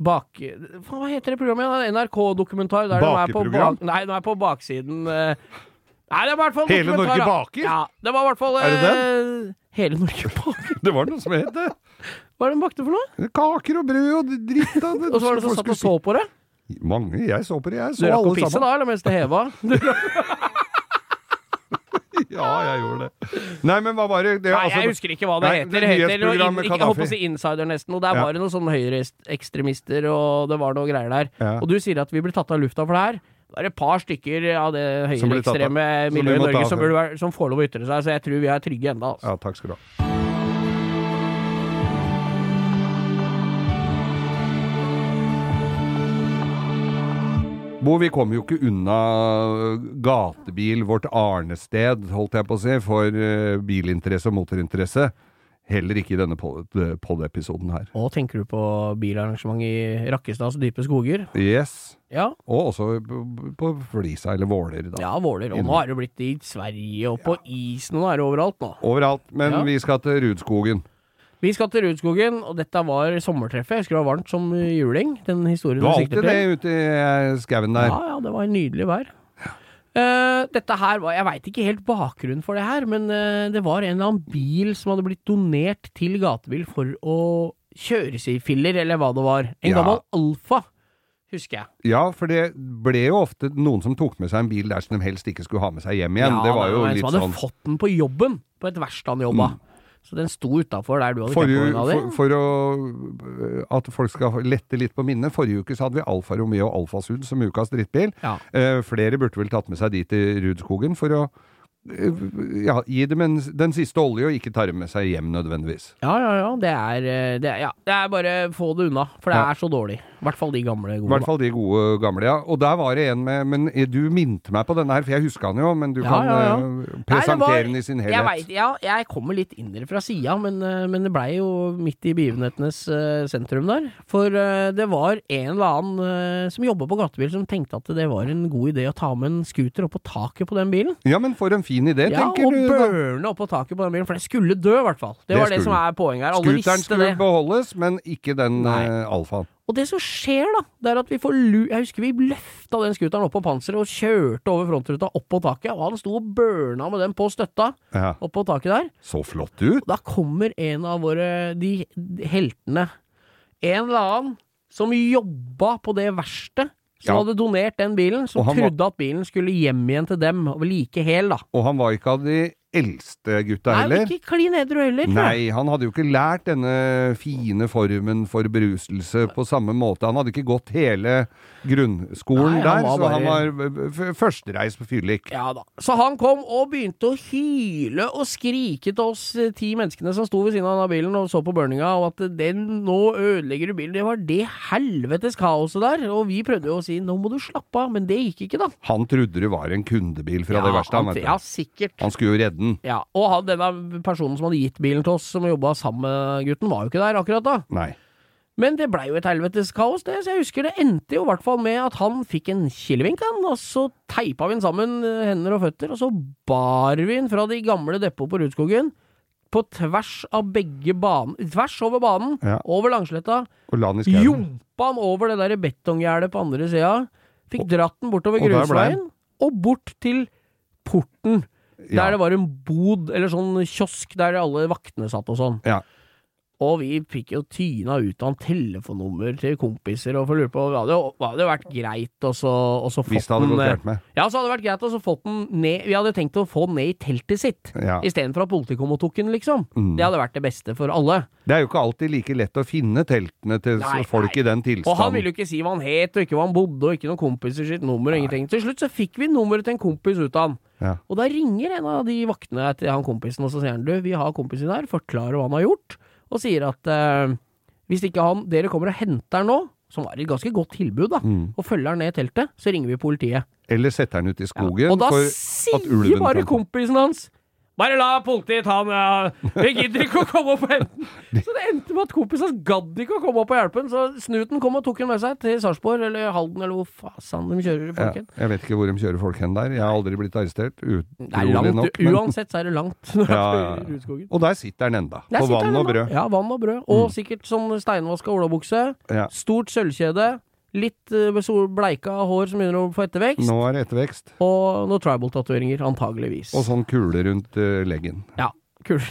Speaker 3: bak... Faen, hva heter det programmet? igjen? NRK-dokumentar. der de er på
Speaker 2: Bakeprogram?
Speaker 3: bak- Nei, de er på baksiden eh, Nei, det var i hvert fall
Speaker 2: Hele
Speaker 3: dokumentar,
Speaker 2: Norge
Speaker 3: da.
Speaker 2: baker?
Speaker 3: Ja, det var i hvert fall
Speaker 2: Er det
Speaker 3: eh, Hele Norge baker?
Speaker 2: Det var noe som het det!
Speaker 3: Hva er det de bakte for noe?
Speaker 2: Kaker og brød og dritt av det.
Speaker 3: Og så var det som satt og så på det?
Speaker 2: Mange. Jeg så på det, jeg.
Speaker 3: Du
Speaker 2: Så
Speaker 3: rakk å
Speaker 2: alle
Speaker 3: pisse
Speaker 2: sammen.
Speaker 3: da, eller mens det heva? Du,
Speaker 2: Ja, jeg gjorde det. Nei, men hva var det? det
Speaker 3: Nei, jeg
Speaker 2: altså,
Speaker 3: husker ikke hva det
Speaker 2: Nei,
Speaker 3: heter.
Speaker 2: det
Speaker 3: Det heter noe
Speaker 2: nyhetsprogrammet
Speaker 3: in, ikke, jeg holdt på å
Speaker 2: Gaddafi.
Speaker 3: si Insider nesten, og der
Speaker 2: Ja.
Speaker 3: var det noen sånne høyreekstremister, og det var noe greier der.
Speaker 2: Ja.
Speaker 3: Og du sier at vi blir tatt av lufta for det her. Det er et par stykker av det
Speaker 2: Som blir tatt av-
Speaker 3: høyreekstreme
Speaker 2: som vi
Speaker 3: miljøet i
Speaker 2: må ta av
Speaker 3: Norge som,
Speaker 2: for.
Speaker 3: burde være, som får lov å ytre seg, så jeg tror vi er trygge ennå. Altså.
Speaker 2: Ja, takk skal du ha. Bo, vi kommer jo ikke unna øh, gatebil, vårt arnested, holdt jeg på å si, for eh, bilinteresse og motorinteresse. Heller ikke i denne øh, pod-episoden her.
Speaker 3: Og tenker du på bilarrangement i Rakkestads dype skoger?
Speaker 2: Yes.
Speaker 3: Ja.
Speaker 2: Og også på- på Flisa, eller Våler, da.
Speaker 3: Ja, Våler. Og nå har det blitt i Sverige og på isen, og nå er det overalt nå.
Speaker 2: Overalt. Men
Speaker 3: Ja.
Speaker 2: vi skal til Rudskogen.
Speaker 3: Vi skal til Rudskogen, og dette var sommertreffet. Jeg husker det var varmt som juling, den historien
Speaker 2: Du har
Speaker 3: du
Speaker 2: alltid
Speaker 3: sikter til.
Speaker 2: det ute i eh, skauen der.
Speaker 3: Ja, ja, det var nydelig vær. Eh, dette her var, Jeg veit ikke helt bakgrunnen for det her, men eh, det var en eller annen bil som hadde blitt donert til gatebil for å kjøres i filler, eller hva det var. En
Speaker 2: Ja.
Speaker 3: gammel Alfa, husker jeg.
Speaker 2: Ja, for det ble jo ofte noen som tok med seg en bil der som de helst ikke skulle ha med seg hjem igjen. det var jo
Speaker 3: en
Speaker 2: litt
Speaker 3: som hadde
Speaker 2: sånn Mm.
Speaker 3: fått den på jobben, på et verksted han jobba. Så den sto utafor der du hadde
Speaker 2: for,
Speaker 3: campingvogna di.
Speaker 2: for, for å øh, At folk skal lette litt på minnet. Forrige uke så hadde vi Alfa Romeo og Alfasud som ukas drittbil.
Speaker 3: Ja.
Speaker 2: Eh, flere burde vel tatt med seg de til Rudskogen for å eh, ja, gi dem en, den siste olje, og ikke ta dem med seg hjem nødvendigvis.
Speaker 3: Ja, ja, ja. Det er, eh, det er, ja. Det er bare få det unna, for det
Speaker 2: Ja.
Speaker 3: er så dårlig. I hvert fall de gamle
Speaker 2: I
Speaker 3: gode.
Speaker 2: hvert fall de gode gamle, ja. Og der var det en med Men eh, du minte meg på denne her, for jeg huska han jo, men du
Speaker 3: Ja,
Speaker 2: kan
Speaker 3: ja, ja.
Speaker 2: eh,
Speaker 3: Nei, det var-
Speaker 2: presentere den i sin
Speaker 3: Jeg
Speaker 2: helhet.
Speaker 3: vet, ja, jeg kommer litt inn dere fra sida, men, eh, men det blei jo midt i begivenhetenes eh, sentrum der. For eh, det var en eller annen eh, som jobba på gatebil som tenkte at det var en god idé å ta med en scooter opp på taket på den bilen.
Speaker 2: Ja, men for en fin idé,
Speaker 3: Ja,
Speaker 2: tenker
Speaker 3: og
Speaker 2: du. da.
Speaker 3: burne opp på taket på den bilen, for det skulle dø, i hvert fall.
Speaker 2: Det
Speaker 3: Det, var det
Speaker 2: skulle
Speaker 3: som er poenget her. Alle
Speaker 2: Scooteren
Speaker 3: visste
Speaker 2: skulle
Speaker 3: det.
Speaker 2: beholdes, men ikke den
Speaker 3: Nei.
Speaker 2: eh, alfaen.
Speaker 3: Og det som skjer, da, det er at vi får lu... Jeg husker vi løfta den scooteren opp på panseret og kjørte over frontruta opp på taket, og han sto og burna med den på støtta
Speaker 2: Ja.
Speaker 3: opp på taket der.
Speaker 2: Så flott ut!
Speaker 3: Og da kommer en av våre de de heltene. En eller annen som jobba på det verkstedet. Som
Speaker 2: Ja.
Speaker 3: hadde donert den bilen, som
Speaker 2: Og han var-
Speaker 3: trodde at bilen skulle hjem igjen til dem, og like hel, da.
Speaker 2: Og han var ikke av de eldste gutta
Speaker 3: Nei,
Speaker 2: heller.
Speaker 3: men ikke klin edru heller. tror jeg.
Speaker 2: Nei, han hadde jo ikke lært denne fine formen for beruselse på samme måte. Han hadde ikke gått hele grunnskolen
Speaker 3: Nei,
Speaker 2: der,
Speaker 3: han var
Speaker 2: så han
Speaker 3: bare-
Speaker 2: var eh, f- førstereis på fyllik.
Speaker 3: Ja da. Så han kom og begynte å hyle og skrike til oss eh, ti menneskene som sto ved siden av denne bilen og så på burninga, og at eh, den nå ødelegger du bilen. Det var det helvetes kaoset der, og vi prøvde jo å si nå må du slappe av, men det gikk ikke, da.
Speaker 2: Han trodde det var en kundebil fra
Speaker 3: ja,
Speaker 2: det verste, han, vet du.
Speaker 3: Ja, sikkert.
Speaker 2: Han skulle jo redde den.
Speaker 3: Ja, og han, denne personen som hadde gitt bilen til oss, som jobba sammen med gutten, var jo ikke der akkurat da.
Speaker 2: Nei.
Speaker 3: Men det blei jo et helvetes kaos, det, så jeg husker det endte jo i hvert fall med at han fikk en kilevink, han, og så teipa vi den sammen, eh, hender og føtter, og så bar vi den fra de gamle depot på Rudskogen, på tvers av begge banen, tvers over banen,
Speaker 2: Ja.
Speaker 3: over Langsletta,
Speaker 2: Og la den i skauen.
Speaker 3: jumpa han over det der betonggjerdet på andre sida, fikk dratt den bortover
Speaker 2: og der ble han.
Speaker 3: grusveien, og bort til porten.
Speaker 2: Ja.
Speaker 3: Der det var en bod, eller sånn kiosk, der alle vaktene satt og sånn.
Speaker 2: Ja.
Speaker 3: Og vi fikk jo tyna ut av en telefonnummer til kompiser, og for lurte på hva det hadde jo vært greit og så, og så
Speaker 2: Hvis
Speaker 3: fått
Speaker 2: det hadde
Speaker 3: den
Speaker 2: gått
Speaker 3: eh,
Speaker 2: gærent med.
Speaker 3: Ja, så hadde det vært greit å så fått den ned Vi hadde tenkt å få den ned i teltet sitt,
Speaker 2: Ja.
Speaker 3: istedenfor at politiet kom og tok den, liksom.
Speaker 2: Mm.
Speaker 3: Det hadde vært det beste for alle.
Speaker 2: Det er jo ikke alltid like lett å finne teltene til
Speaker 3: Nei,
Speaker 2: folk
Speaker 3: nei.
Speaker 2: i den
Speaker 3: Og han
Speaker 2: tilstanden.
Speaker 3: ville jo ikke si hva han het, og ikke hvor han bodde, og ikke noen kompiser sitt nummer, og ingenting. Til slutt så fikk vi nummeret til en kompis ut av han.
Speaker 2: Ja.
Speaker 3: Og da ringer en av de vaktene til han kompisen, og så sier han du, vi har kompisen her, forklarer hva han har gjort, og sier at eh, hvis ikke han, dere kommer og henter han nå, som var et ganske godt tilbud da,
Speaker 2: Mm.
Speaker 3: og følger han ned i teltet, så ringer vi politiet.
Speaker 2: Eller setter den ut i skogen
Speaker 3: Og da
Speaker 2: for at
Speaker 3: sier
Speaker 2: ulven
Speaker 3: bare
Speaker 2: kan-
Speaker 3: kompisen hans bare la politiet ta han, ja. vi gidder ikke å komme opp og hente den. Så det endte med at kompisen hans gadd ikke å komme opp og hjelpe han, så snuten kom og tok han med seg til Sarpsborg, eller Halden, eller hvor fasen de kjører
Speaker 2: Ja,
Speaker 3: folk hen.
Speaker 2: jeg vet ikke hvor de kjører folk hen der. Jeg har aldri blitt arrestert. Utrolig
Speaker 3: Det er langt,
Speaker 2: nok. men-
Speaker 3: uansett så er det langt når du
Speaker 2: Ja, ja, ja.
Speaker 3: kjører i Rudskogen.
Speaker 2: Og der sitter den enda.
Speaker 3: Der
Speaker 2: På
Speaker 3: sitter
Speaker 2: vann
Speaker 3: den
Speaker 2: og
Speaker 3: da.
Speaker 2: brød. Mm.
Speaker 3: Ja, vann og brød. Og sikkert sånn steinvaska olabukse.
Speaker 2: Ja.
Speaker 3: Stort sølvkjede. Litt eh, sol- bleika hår som begynner å få ettervekst.
Speaker 2: Nå er det ettervekst.
Speaker 3: Og noen tribal-tatoveringer, antageligvis.
Speaker 2: Og sånn kule rundt eh, leggen.
Speaker 3: Ja, kult.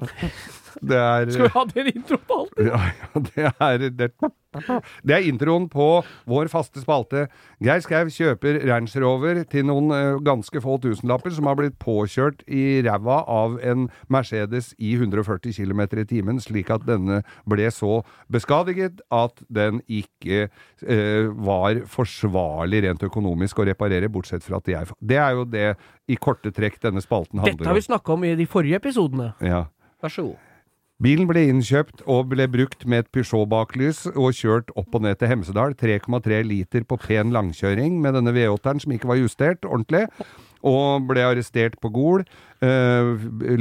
Speaker 2: Det er
Speaker 3: Skal vi ha den intro på alt?
Speaker 2: ja, ja, det er det, det er introen på vår faste spalte. Geir Skau kjøper Range Rover til noen eh, ganske få tusenlapper som har blitt påkjørt i ræva av en Mercedes i 140 km i timen, slik at denne ble så beskadiget at den ikke eh, var forsvarlig rent økonomisk å reparere, bortsett fra at jeg Det er jo det i korte trekk denne spalten
Speaker 3: Dette
Speaker 2: handler
Speaker 3: har
Speaker 2: om.
Speaker 3: vi snakka om i de forrige episodene.
Speaker 2: Ja.
Speaker 3: Vær så god.
Speaker 2: Bilen ble innkjøpt og ble brukt med et Peugeot-baklys og kjørt opp og ned til Hemsedal. 3,3 liter på pen langkjøring med denne V8-eren som ikke var justert ordentlig. Og ble arrestert på Gol. Eh,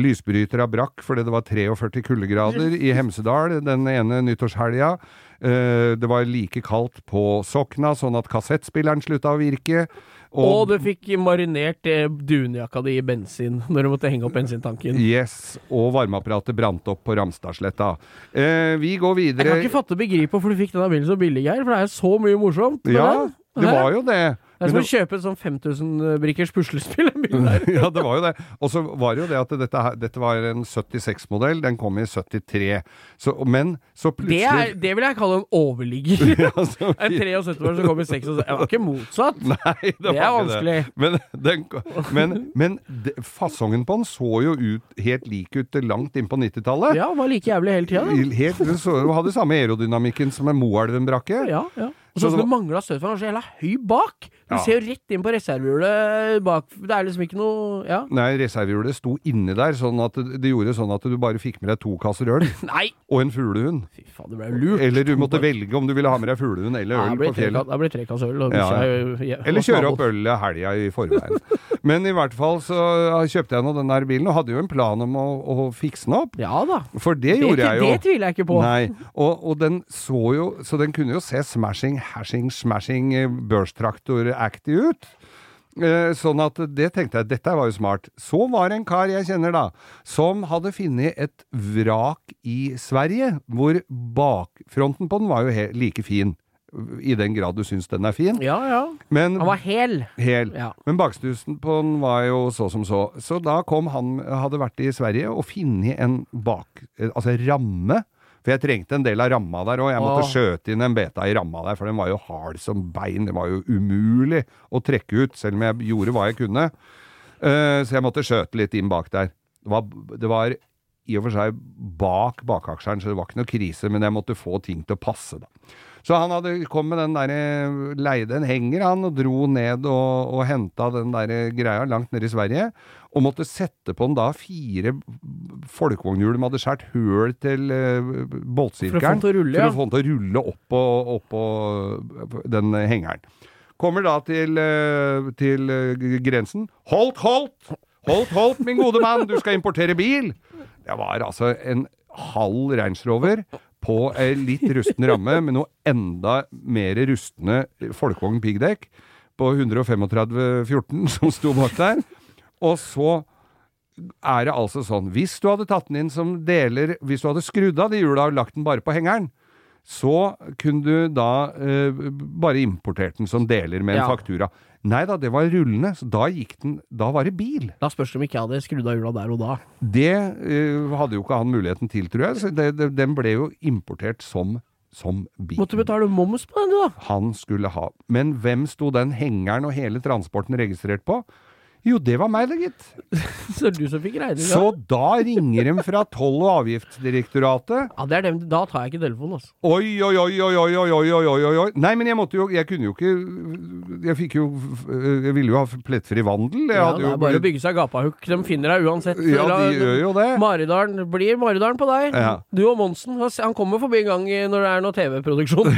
Speaker 2: lysbrytera brakk fordi det var 43 kuldegrader i Hemsedal den ene nyttårshelga. Eh, det var like kaldt på Sokna, sånn at kassettspilleren slutta å virke.
Speaker 3: Og du fikk marinert eh, dunjakka di i bensin når du måtte henge opp bensintanken.
Speaker 2: Yes, og varmeapparatet brant opp på Ramstadsletta. Eh, vi går
Speaker 3: Jeg
Speaker 2: videre
Speaker 3: kan ikke fatte og begripe hvorfor du fikk denne bilen så billig, Geir, for det er jo så mye morsomt. med
Speaker 2: Ja,
Speaker 3: den.
Speaker 2: det var jo det.
Speaker 3: Det er
Speaker 2: Men
Speaker 3: som å
Speaker 2: det,
Speaker 3: kjøpe et sånn 5000 brikkers puslespill. en bil.
Speaker 2: ja, det var jo det. Og så var det jo det at dette, her, dette var en 76-modell. Den kom i 73. Så, men så
Speaker 3: Det, er,
Speaker 2: plutselig
Speaker 3: det vil jeg kalle en overligger.
Speaker 2: Ja, så
Speaker 3: En 73-år som kommer i 76 Det var ikke motsatt.
Speaker 2: Nei, det,
Speaker 3: Det
Speaker 2: var
Speaker 3: er
Speaker 2: ikke
Speaker 3: vanskelig.
Speaker 2: Det. Men, den, men, men de, fasongen på den så jo ut helt lik ut til langt inn på 90-tallet.
Speaker 3: Ja, var like jævlig hele tida.
Speaker 2: Helt, så, hadde samme aerodynamikken som en Moelven-brakke.
Speaker 3: Ja, ja. Og sånn
Speaker 2: Så
Speaker 3: som
Speaker 2: det
Speaker 3: det mangla støt for han var så jævla høy bak! Du
Speaker 2: Ja.
Speaker 3: ser jo rett inn på reservehjulet bak. Det er liksom ikke noe Ja.
Speaker 2: Nei, reservehjulet sto inni der, sånn at det- det gjorde sånn at du bare fikk med deg to kasser øl
Speaker 3: Nei!
Speaker 2: og en fuglehund.
Speaker 3: Fy faen, det ble jo lurt.
Speaker 2: Eller du måtte velge om du ville ha med deg fuglehund eller
Speaker 3: Ja,
Speaker 2: øl
Speaker 3: det blir
Speaker 2: på fjellet.
Speaker 3: trekant- det blir trekants øl. og
Speaker 2: Ja,
Speaker 3: bikkja
Speaker 2: ja.
Speaker 3: er jo- ja,
Speaker 2: Eller
Speaker 3: hos
Speaker 2: kjøre opp
Speaker 3: naboen.
Speaker 2: ølet helga i forveien. Men i hvert fall så kjøpte jeg nå den der bilen, og hadde jo en plan om å, å fikse den opp.
Speaker 3: Ja da.
Speaker 2: For det
Speaker 3: Det,
Speaker 2: gjorde jeg jo.
Speaker 3: det tviler jeg ikke på.
Speaker 2: Nei, og, og den så jo Så den kunne jo se smashing, hashing, smashing eh, børstraktor-acty ut. Eh, Sånn at det tenkte jeg, dette var jo smart. Så var det en kar jeg kjenner da, som hadde funnet et vrak i Sverige, hvor bakfronten på den var jo he like fin. I den grad du syns den er fin.
Speaker 3: Ja, ja.
Speaker 2: Men
Speaker 3: Han var hel.
Speaker 2: Hel.
Speaker 3: Ja.
Speaker 2: Men bakstusen på den var jo så som så. Så da kom han, hadde vært i Sverige og funnet en bak... eh, Altså ramme. For jeg trengte en del av ramma der òg. Jeg måtte
Speaker 3: Åh.
Speaker 2: skjøte inn en beta i ramma der, for den var jo hard som bein. Det var jo umulig å trekke ut, selv om jeg gjorde hva jeg kunne. Eh, så jeg måtte skjøte litt inn bak der. Det var, det var i og for seg bak bakaksjeren, så det var ikke noe krise, men jeg måtte få ting til å passe, da. Så han hadde kom med den derre Leide en henger, han, og dro ned og, og henta den derre greia langt nede i Sverige. Og måtte sette på den da fire folkevognhjul de hadde skåret høl til uh,
Speaker 3: For å få
Speaker 2: boltsirkelen.
Speaker 3: den til å rulle,
Speaker 2: for
Speaker 3: ja.
Speaker 2: å få den til å rulle opp på, opp på øh, den hengeren. Kommer da til, øh, til øh, g- grensen. Holdt, holdt! Holdt, holdt, min gode mann, du skal importere bil! Det var altså en halv Range Rover på ei litt rusten ramme med noe enda mer rustne folkevogn piggdekk på 135-14 som sto bak der. Og så er det altså sånn Hvis du hadde tatt den inn som deler Hvis du hadde skrudd av de hjula og lagt den bare på hengeren, så kunne du da eh, bare importert den som deler med en
Speaker 3: Ja.
Speaker 2: faktura. Nei da, det var rullende, så da gikk den Da var det bil.
Speaker 3: Da spørs det om ikke jeg hadde skrudd av hjula der og da.
Speaker 2: Det eh, hadde jo ikke han muligheten til, tror jeg. Så det, det, den ble jo importert som, som bil.
Speaker 3: Måtte betale moms på den, du, da.
Speaker 2: Han skulle ha. Men hvem sto den hengeren og hele transporten registrert på? Jo, det var meg, det, gitt.
Speaker 3: Så det er du som fikk regninga.
Speaker 2: Så da ringer de fra Toll- og avgiftsdirektoratet.
Speaker 3: Ja, det er dem. Da tar jeg ikke telefonen, altså.
Speaker 2: Oi, oi, oi, oi, oi, oi, oi, oi, oi, oi, oi. Nei, men jeg måtte jo Jeg kunne jo ikke Jeg fikk jo Jeg ville jo ha plettfri vandel. Jeg
Speaker 3: Ja,
Speaker 2: hadde
Speaker 3: det
Speaker 2: jo
Speaker 3: er bare å bygge seg gapahuk. De finner deg uansett.
Speaker 2: Ja, de gjør jo det.
Speaker 3: Maridalen blir Maridalen på deg.
Speaker 2: Ja.
Speaker 3: Du og Monsen. Han kommer forbi en gang i- når det er noe TV-produksjon.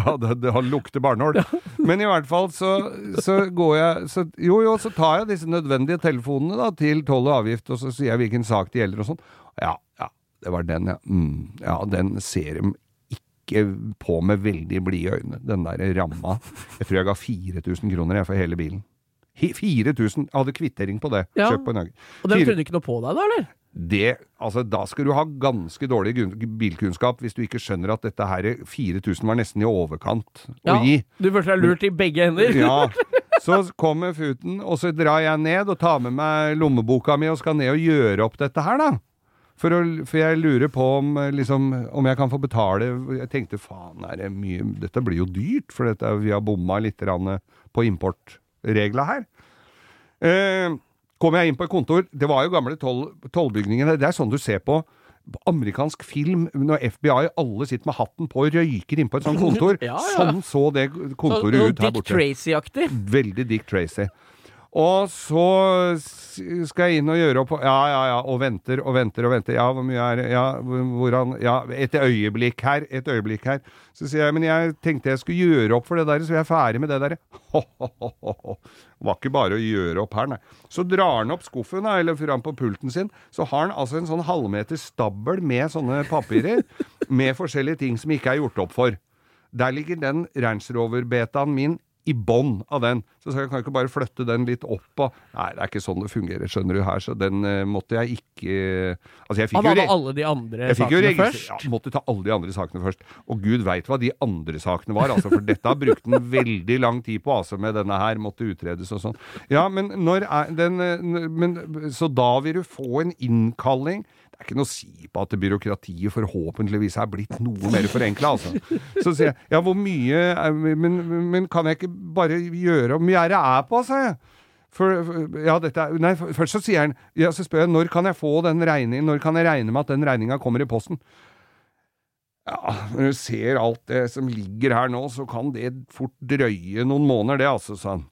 Speaker 2: Ja, det, det han lukter barnål. Men i hvert fall så, så går jeg så, Jo, jo, så tar jeg disse nødvendige telefonene da, til toll og avgift, og så sier jeg hvilken sak det gjelder og sånn. Ja, ja, det var den, ja. Mm, ja, den ser de ikke på med veldig blide øyne, den der ramma. Jeg tror jeg ga 4000 kroner jeg for hele bilen. Hi- 4000! Jeg hadde kvittering på det.
Speaker 3: Ja.
Speaker 2: Kjøpt på en dag.
Speaker 3: Og de
Speaker 2: Fire-
Speaker 3: trodde ikke noe på deg da, eller?
Speaker 2: det, altså, da skal du ha ganske dårlig gun- bilkunnskap hvis du ikke skjønner at dette her 4000 var nesten i overkant å gi.
Speaker 3: Du følte deg lurt i begge hender.
Speaker 2: Ja. Så kommer futen, og så drar jeg ned og tar med meg lommeboka mi og skal ned og gjøre opp dette her, da. For, å, for jeg lurer på om, eh, liksom, om jeg kan få betale Jeg tenkte faen, er det mye Dette blir jo dyrt, for dette, vi har bomma litt grann, eh, på importregla her. Eh, kom jeg inn på et kontor Det var jo gamle toll, tollbygningene. Det er sånn du ser på amerikansk film når FBI alle sitter med hatten på og røyker inn på et sånt kontor.
Speaker 3: Ja, ja.
Speaker 2: Sånn så det
Speaker 3: Så-
Speaker 2: kontoret
Speaker 3: så
Speaker 2: ut her
Speaker 3: Dick
Speaker 2: borte.
Speaker 3: Tracy-aktig.
Speaker 2: Veldig Dick Tracy. Og så s- skal jeg inn og gjøre opp Ja, ja, ja, og venter og venter og venter. Ja, hvor mye er det? Ja, hvor- hvordan Ja, et øyeblikk her, et øyeblikk her. Så sier jeg, men jeg tenkte jeg skulle gjøre opp for det der, så jeg er ferdig med det der. Ho-ho-ho-ho. Var ikke bare å gjøre opp her, nei. Så drar han opp skuffen, da, eller fram på pulten sin, så har han altså en sånn halvmeter stabel med sånne papirer, med forskjellige ting som ikke er gjort opp for. Der ligger den Range Rover-betaen min i bånn av den. Så sa jeg kan jeg ikke bare flytte den litt opp og Nei, det er ikke sånn det fungerer, skjønner du her, så den eh, måtte jeg ikke Altså, jeg
Speaker 3: Han
Speaker 2: fikk jo
Speaker 3: hadde
Speaker 2: re-
Speaker 3: alle de andre
Speaker 2: jeg fikk jo
Speaker 3: eh, sakene
Speaker 2: registrert
Speaker 3: først.
Speaker 2: ja, Måtte ta alle de andre sakene først. Og gud veit hva de andre sakene var, altså. For dette har brukt en veldig lang tid på, altså, med denne her. Måtte utredes og sånn. Ja, men når er den eh, n- men, Så da vil du få en innkalling. Det er ikke noe å si på at byråkratiet forhåpentligvis er blitt noe mer forenkla, altså. Så sier jeg ja, hvor mye er, men, men kan jeg ikke bare gjøre Hvor mye er det er på, sa jeg. For, for- ja, dette er, nei, for- først så sier han ja, Så spør jeg når kan jeg få den regningen Når kan jeg regne med at den regninga kommer i posten? Ja, når du ser alt det som ligger her nå, så kan det fort drøye noen måneder, det altså, sa han.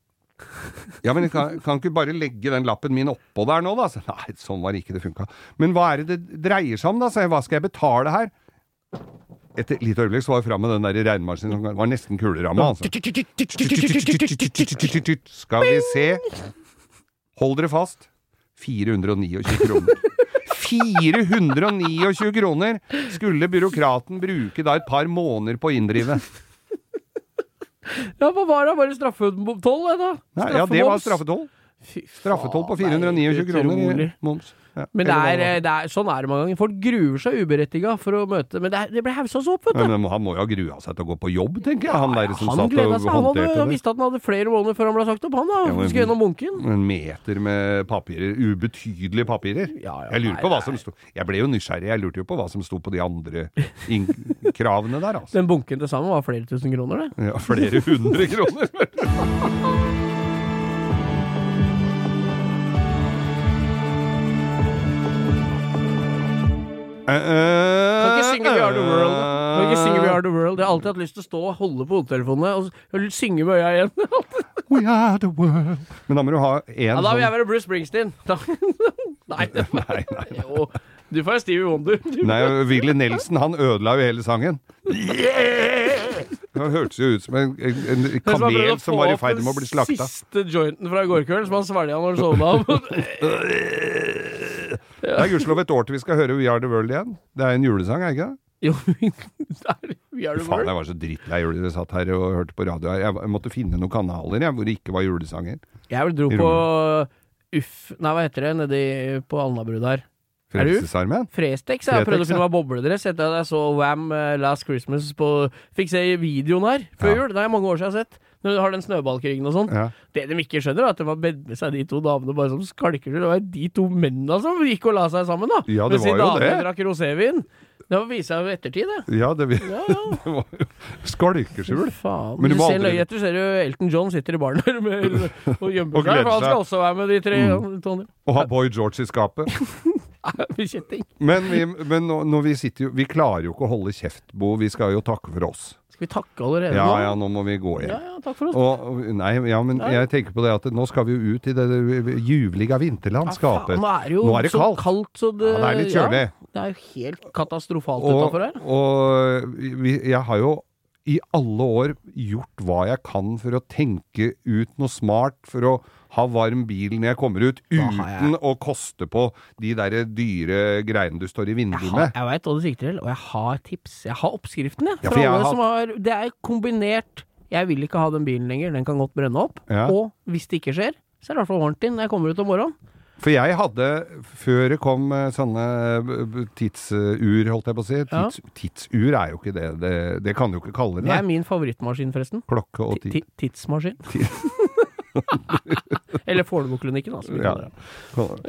Speaker 2: Ja, men kan, kan ikke bare legge den lappen min oppå der nå, da? Så, nei, sånn var ikke det funka. Men hva er det det dreier seg om, da? sa jeg. Hva skal jeg betale her? Etter et lite øyeblikk så var jeg framme med den der regnmaskinen som var nesten kuleramme, altså. Skal vi se. Hold dere fast. 429 kroner. 429 kroner skulle byråkraten bruke da et par måneder på å inndrive.
Speaker 3: Ja, hva var det? Bare straffetoll, det, da?
Speaker 2: Nei, ja, det var
Speaker 3: Straffemoms.
Speaker 2: straffetoll.
Speaker 3: Fy
Speaker 2: Straffetoll på
Speaker 3: faen, nei,
Speaker 2: 429 kroner i
Speaker 3: utrolig.
Speaker 2: moms. Ja,
Speaker 3: Men det
Speaker 2: eller hva
Speaker 3: er, det er, sånn er det mange ganger. Folk gruer seg uberettiga for å møte Men det, er, det ble haussa så opp, vet
Speaker 2: Men
Speaker 3: du.
Speaker 2: men han må jo ha grua seg til å gå på jobb, tenker jeg, han der som
Speaker 3: Han
Speaker 2: satt
Speaker 3: gleda
Speaker 2: og
Speaker 3: seg. Han, hadde,
Speaker 2: håndterte
Speaker 3: han
Speaker 2: det.
Speaker 3: visste at han hadde flere måneder før han ble sagt opp, han da.
Speaker 2: Ja, men-
Speaker 3: Skulle gjennom bunken.
Speaker 2: En meter med papirer, ubetydelige papirer.
Speaker 3: Ja, ja,
Speaker 2: jeg lurer
Speaker 3: nei,
Speaker 2: på hva
Speaker 3: nei.
Speaker 2: som sto Jeg ble jo nysgjerrig, jeg lurte jo på hva som sto på de andre inn- kravene der, altså.
Speaker 3: Den bunken til sammen var flere tusen kroner, det.
Speaker 2: Ja, flere hundre kroner.
Speaker 3: Kan ikke synge We Are The World. da. Kan ikke synge We
Speaker 2: We
Speaker 3: Are The World. Jeg har alltid hatt lyst til å stå og holde på hodetelefonene og s- synge med øya igjen.
Speaker 2: are the world. Men da må du ha én
Speaker 3: Ja, da vil jeg
Speaker 2: sånn
Speaker 3: være Bruce Springsteen. Da. Nei,
Speaker 2: Nei, nei.
Speaker 3: jo. Du får være Stevie Wonder. Du.
Speaker 2: Nei, Willy Nelson han ødela jo hele sangen. Det hørtes jo ut som en, en, en
Speaker 3: Men så har han prøvd
Speaker 2: kamel
Speaker 3: å
Speaker 2: som
Speaker 3: få
Speaker 2: var i
Speaker 3: opp
Speaker 2: ferd med å bli slakta.
Speaker 3: Den siste jointen fra i går kveld som han svelga når han sovna av.
Speaker 2: Øh. Det er gudskjelov et år til vi skal høre We Are The World igjen. Det er en julesang, er det ikke det?
Speaker 3: jo, der, vi er det
Speaker 2: Faen,
Speaker 3: vel.
Speaker 2: jeg var så drittlei jul. Jeg satt her og hørte på radio her. Jeg var- Jeg måtte finne noen kanaler jeg, hvor det ikke var julesanger.
Speaker 3: Jeg vel dro på Uff Nei, hva heter det nedi på Alnabru der? Er du?
Speaker 2: Frelsesarmeen?
Speaker 3: Frestex. Jeg har prøvd å
Speaker 2: Fretex,
Speaker 3: finne meg bobledress etter at jeg så Wam eh, Last Christmas på Fikk se videoen her før
Speaker 2: Ja.
Speaker 3: jul. Det er mange år siden jeg har sett. Når du har den snøballkrigen og sånn.
Speaker 2: Ja.
Speaker 3: Det de ikke skjønner, er at det var bedt med seg de to damene bare som skalker. Det var de to mennene som gikk og la seg sammen, da.
Speaker 2: Ja, det
Speaker 3: Mens de
Speaker 2: var jo
Speaker 3: damene
Speaker 2: det.
Speaker 3: drakk rosévin. Det viser seg jo i ettertid, det.
Speaker 2: Ja, det, det
Speaker 3: Ja, ja.
Speaker 2: var jo Skalkeskjul.
Speaker 3: Faen.
Speaker 2: Men
Speaker 3: Men
Speaker 2: du
Speaker 3: du,
Speaker 2: må
Speaker 3: ser
Speaker 2: aldri-
Speaker 3: løye etter, ser du Elton John sitter i baren der med, og
Speaker 2: Og
Speaker 3: gjemmer
Speaker 2: gleder seg.
Speaker 3: seg. For han
Speaker 2: Mm.
Speaker 3: skal også være med de tre. Tony.
Speaker 2: Å ha Boy George i skapet.
Speaker 3: Nei, Kjetting.
Speaker 2: Men, vi, men nå, når vi sitter jo Vi klarer jo ikke å holde kjeft, Bo. Vi skal jo takke for oss.
Speaker 3: Skal vi takke allerede
Speaker 2: Ja,
Speaker 3: nå?
Speaker 2: ja, nå må vi gå
Speaker 3: ja,
Speaker 2: hjem.
Speaker 3: ja, takk for oss.
Speaker 2: Og, og- nei, ja, men
Speaker 3: Nei.
Speaker 2: jeg tenker på det at nå skal vi jo ut i det ljuvlige vinterlandskapet.
Speaker 3: Nå er det jo
Speaker 2: Nå er det
Speaker 3: så
Speaker 2: kaldt.
Speaker 3: kaldt, så det
Speaker 2: Ja, det er litt kjølig.
Speaker 3: Ja, det er jo helt katastrofalt
Speaker 2: Og,
Speaker 3: utafor her.
Speaker 2: og vi, jeg har jo i alle år gjort hva jeg kan for å tenke ut noe smart for å ha varm bil når jeg kommer ut,
Speaker 3: har jeg?
Speaker 2: uten å koste på de derre dyre greiene du står i vinduet
Speaker 3: Jeg, har-
Speaker 2: med.
Speaker 3: jeg veit hva du sikter til, og jeg har tips. Jeg har oppskriften, jeg.
Speaker 2: Ja,
Speaker 3: for
Speaker 2: for jeg
Speaker 3: alle
Speaker 2: har-
Speaker 3: som har, det er kombinert Jeg vil ikke ha den bilen lenger, den kan godt brenne opp.
Speaker 2: Ja.
Speaker 3: Og hvis det ikke skjer, så er det i hvert fall varmt inn når jeg kommer ut om morgenen.
Speaker 2: For jeg hadde, før det kom eh, sånne b- b- tidsur, holdt jeg på å si
Speaker 3: Ja.
Speaker 2: Tids, Tidsur er jo ikke det, det, det kan du jo ikke kalle
Speaker 3: Det
Speaker 2: det.
Speaker 3: er min favorittmaskin, forresten.
Speaker 2: Klokke og tid.
Speaker 3: Ti- Tidsmaskin. Eller Fornebuklinikken, altså.
Speaker 2: Ja.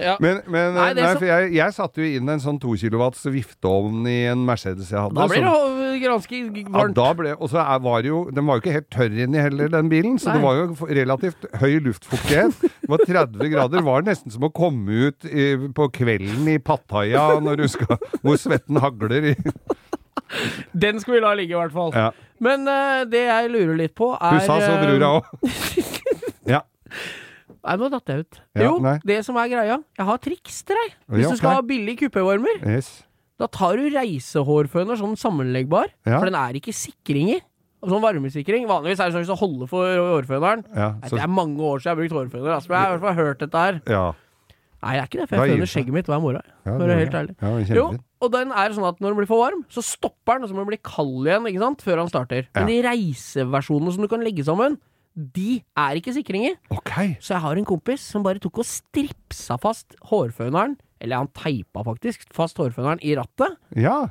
Speaker 3: Ja.
Speaker 2: Men, men
Speaker 3: Nei,
Speaker 2: nei,
Speaker 3: det er så-
Speaker 2: for jeg, jeg satte jo inn en sånn 2 kilowatts vifteovn i en Mercedes jeg hadde.
Speaker 3: Da
Speaker 2: som-
Speaker 3: blir det ho- ganske
Speaker 2: sånn- Ja,
Speaker 3: varmt.
Speaker 2: da ble, og så er, var det jo, den var jo ikke helt tørr inni heller, den bilen, så
Speaker 3: Nei.
Speaker 2: det var jo f- relativt høy luftfuktighet. Det var 30 grader. var nesten som å komme ut i, på kvelden i Pattaya, når du skal, hvor svetten hagler. I.
Speaker 3: Den skal vi la ligge, i hvert fall.
Speaker 2: Ja.
Speaker 3: Men eh, det jeg lurer litt på, er
Speaker 2: Hun sa så,
Speaker 3: eh,
Speaker 2: brura òg. Ja.
Speaker 3: Nei, nå datt jeg ut.
Speaker 2: Ja,
Speaker 3: jo,
Speaker 2: nei.
Speaker 3: det som er greia, jeg har triks til deg. Hvis
Speaker 2: Ja,
Speaker 3: du skal
Speaker 2: ok.
Speaker 3: ha billig kupévarmer,
Speaker 2: Yes.
Speaker 3: da tar du reisehårføner, sånn sammenleggbar,
Speaker 2: Ja.
Speaker 3: for den er ikke sikring i. Og Sånn varmesikring. Vanligvis er det sånn som holder for hårføneren.
Speaker 2: Ja,
Speaker 3: Nei,
Speaker 2: så,
Speaker 3: det er mange år siden jeg har brukt hårføner, altså, men jeg har i hvert fall hørt dette her.
Speaker 2: ja.
Speaker 3: Nei, det er ikke det, for
Speaker 2: Da
Speaker 3: jeg
Speaker 2: gir
Speaker 3: føner
Speaker 2: det seg.
Speaker 3: skjegget mitt hver morgen.
Speaker 2: ja
Speaker 3: For å
Speaker 2: det
Speaker 3: være
Speaker 2: var
Speaker 3: helt
Speaker 2: det.
Speaker 3: ærlig.
Speaker 2: Ja,
Speaker 3: Jo,
Speaker 2: kjempefint.
Speaker 3: og den er sånn at når den blir for varm, så stopper den, og så må den bli kald igjen ikke sant, før han starter. Men de reiseversjonene som du kan legge sammen, de er ikke sikring i.
Speaker 2: Ok.
Speaker 3: Så jeg har en kompis som bare tok og stripsa fast hårføneren, eller han teipa faktisk, fast hårføneren i rattet.
Speaker 2: Ja.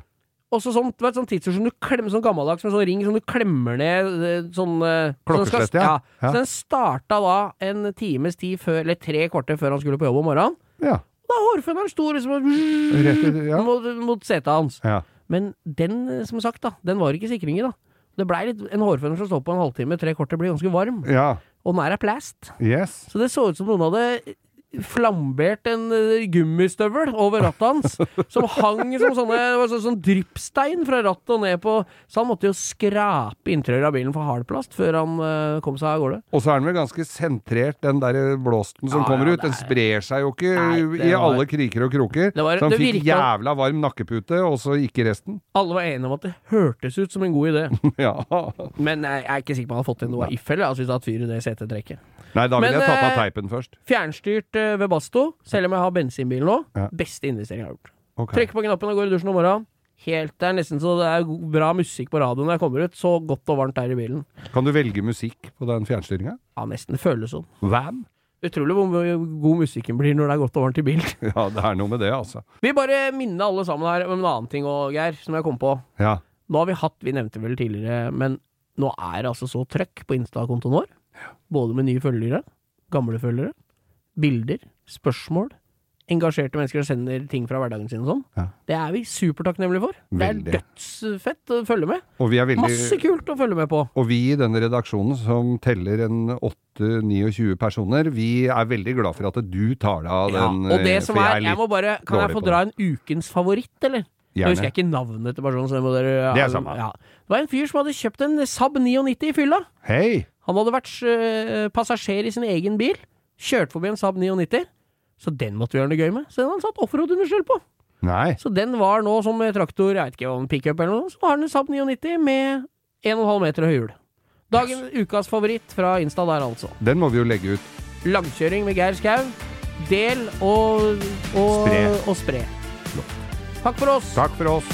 Speaker 3: Og så sånn, du vet, sånn tidsur som du klemmer, sånn gammeldags med sånn ring som du klemmer ned eh, sånn eh, så den skal-
Speaker 2: Klokkeslett, ja. Ja.
Speaker 3: Så den starta da en times tid før, eller tre kvarter før han skulle på jobb om morgenen.
Speaker 2: Ja.
Speaker 3: Da hårføneren sto liksom og-
Speaker 2: Rett i ja.
Speaker 3: mot, mot setet hans.
Speaker 2: ja.
Speaker 3: Men den, eh, som sagt, da, den var ikke sikring i, da. Det blei litt En hårføner som står på en halvtime, tre kvarter, blir ganske varm.
Speaker 2: Ja.
Speaker 3: Og den her er plast.
Speaker 2: Yes.
Speaker 3: Så det så ut som noen hadde eh, flambert en eh, gummistøvel over rattet hans, som hang som sånne, det var sånn, sånn dryppstein fra rattet og ned på Så han måtte jo skrape interiøret av bilen for hardplast før han eh, kom seg av gårde.
Speaker 2: Og så er den vel ganske sentrert, den der blåsten som
Speaker 3: Ja,
Speaker 2: kommer
Speaker 3: ja,
Speaker 2: ut. Den
Speaker 3: det er-
Speaker 2: sprer seg jo ikke
Speaker 3: Nei, det
Speaker 2: i
Speaker 3: var-
Speaker 2: alle kriker og kroker.
Speaker 3: Det var-
Speaker 2: så han
Speaker 3: det
Speaker 2: fikk
Speaker 3: virka-
Speaker 2: jævla varm nakkepute, og så ikke resten.
Speaker 3: Alle var enige om at det hørtes ut som en god idé,
Speaker 2: ja.
Speaker 3: men jeg er ikke sikker på om han hadde fått til noe if eller altså, hvis han hadde hatt fyr i det setetrekket.
Speaker 2: Nei, da
Speaker 3: Men,
Speaker 2: ville jeg tatt av
Speaker 3: eh,
Speaker 2: teipen først.
Speaker 3: Fjernstyrt eh, ved Basto, selv om jeg har bensinbil nå.
Speaker 2: Ja.
Speaker 3: Beste investering jeg har gjort.
Speaker 2: Ok.
Speaker 3: Trekker på knappen og går i dusjen om morgenen. Helt, Det er nesten så det er god- bra musikk på radioen når jeg kommer ut. Så godt og varmt det er i bilen.
Speaker 2: Kan du velge musikk på den fjernstyringa?
Speaker 3: Ja, nesten føles sånn.
Speaker 2: Vam?
Speaker 3: Utrolig hvor mye god musikken blir når det er godt og varmt i bilen.
Speaker 2: Ja, det er noe med det, altså.
Speaker 3: Vi bare minner alle sammen her om en annen ting òg, Geir, som jeg kom på.
Speaker 2: Ja.
Speaker 3: Nå har vi hatt, vi nevnte vel tidligere, men nå er det altså så trøkk på Insta-kontoen vår. Både med nye følgere, gamle følgere, bilder, spørsmål. Engasjerte mennesker som sender ting fra hverdagen sin og sånn.
Speaker 2: Ja.
Speaker 3: Det er vi supertakknemlige for.
Speaker 2: Veldig.
Speaker 3: Det er dødsfett å følge med.
Speaker 2: Og vi er
Speaker 3: Masse
Speaker 2: veldig
Speaker 3: kult å følge med på.
Speaker 2: og vi i denne redaksjonen, som teller en 8-29 personer, vi er veldig glad for at du tar deg av
Speaker 3: Ja,
Speaker 2: den.
Speaker 3: og det
Speaker 2: eh,
Speaker 3: som
Speaker 2: for
Speaker 3: er,
Speaker 2: jeg er
Speaker 3: jeg
Speaker 2: litt
Speaker 3: må bare Kan jeg
Speaker 2: dårlig
Speaker 3: få
Speaker 2: på
Speaker 3: dra en ukens favoritt, eller? Nå
Speaker 2: Gjerne.
Speaker 3: husker jeg ikke navnet til personen, så det må dere
Speaker 2: Det er samme.
Speaker 3: Ja. Det var en fyr som hadde kjøpt en Saab 99 i fylla.
Speaker 2: Hei!
Speaker 3: Han hadde vært eh, passasjer i sin egen bil, kjørt forbi en Saab 99, så den måtte vi gjøre noe gøy med. Så den har han satt offroad-understell på.
Speaker 2: Nei.
Speaker 3: Så den var nå som traktor, jeg vet ikke om pickup eller noe, så har den en Saab 99 med 1,5 meter høye hjul. Dagen ukas favoritt fra Insta der, altså.
Speaker 2: Den må vi jo legge ut.
Speaker 3: Langkjøring med Geir Skau. Del og, og
Speaker 2: Spre.
Speaker 3: Og spre.
Speaker 2: Flott.
Speaker 3: Takk for oss.
Speaker 2: Takk for oss.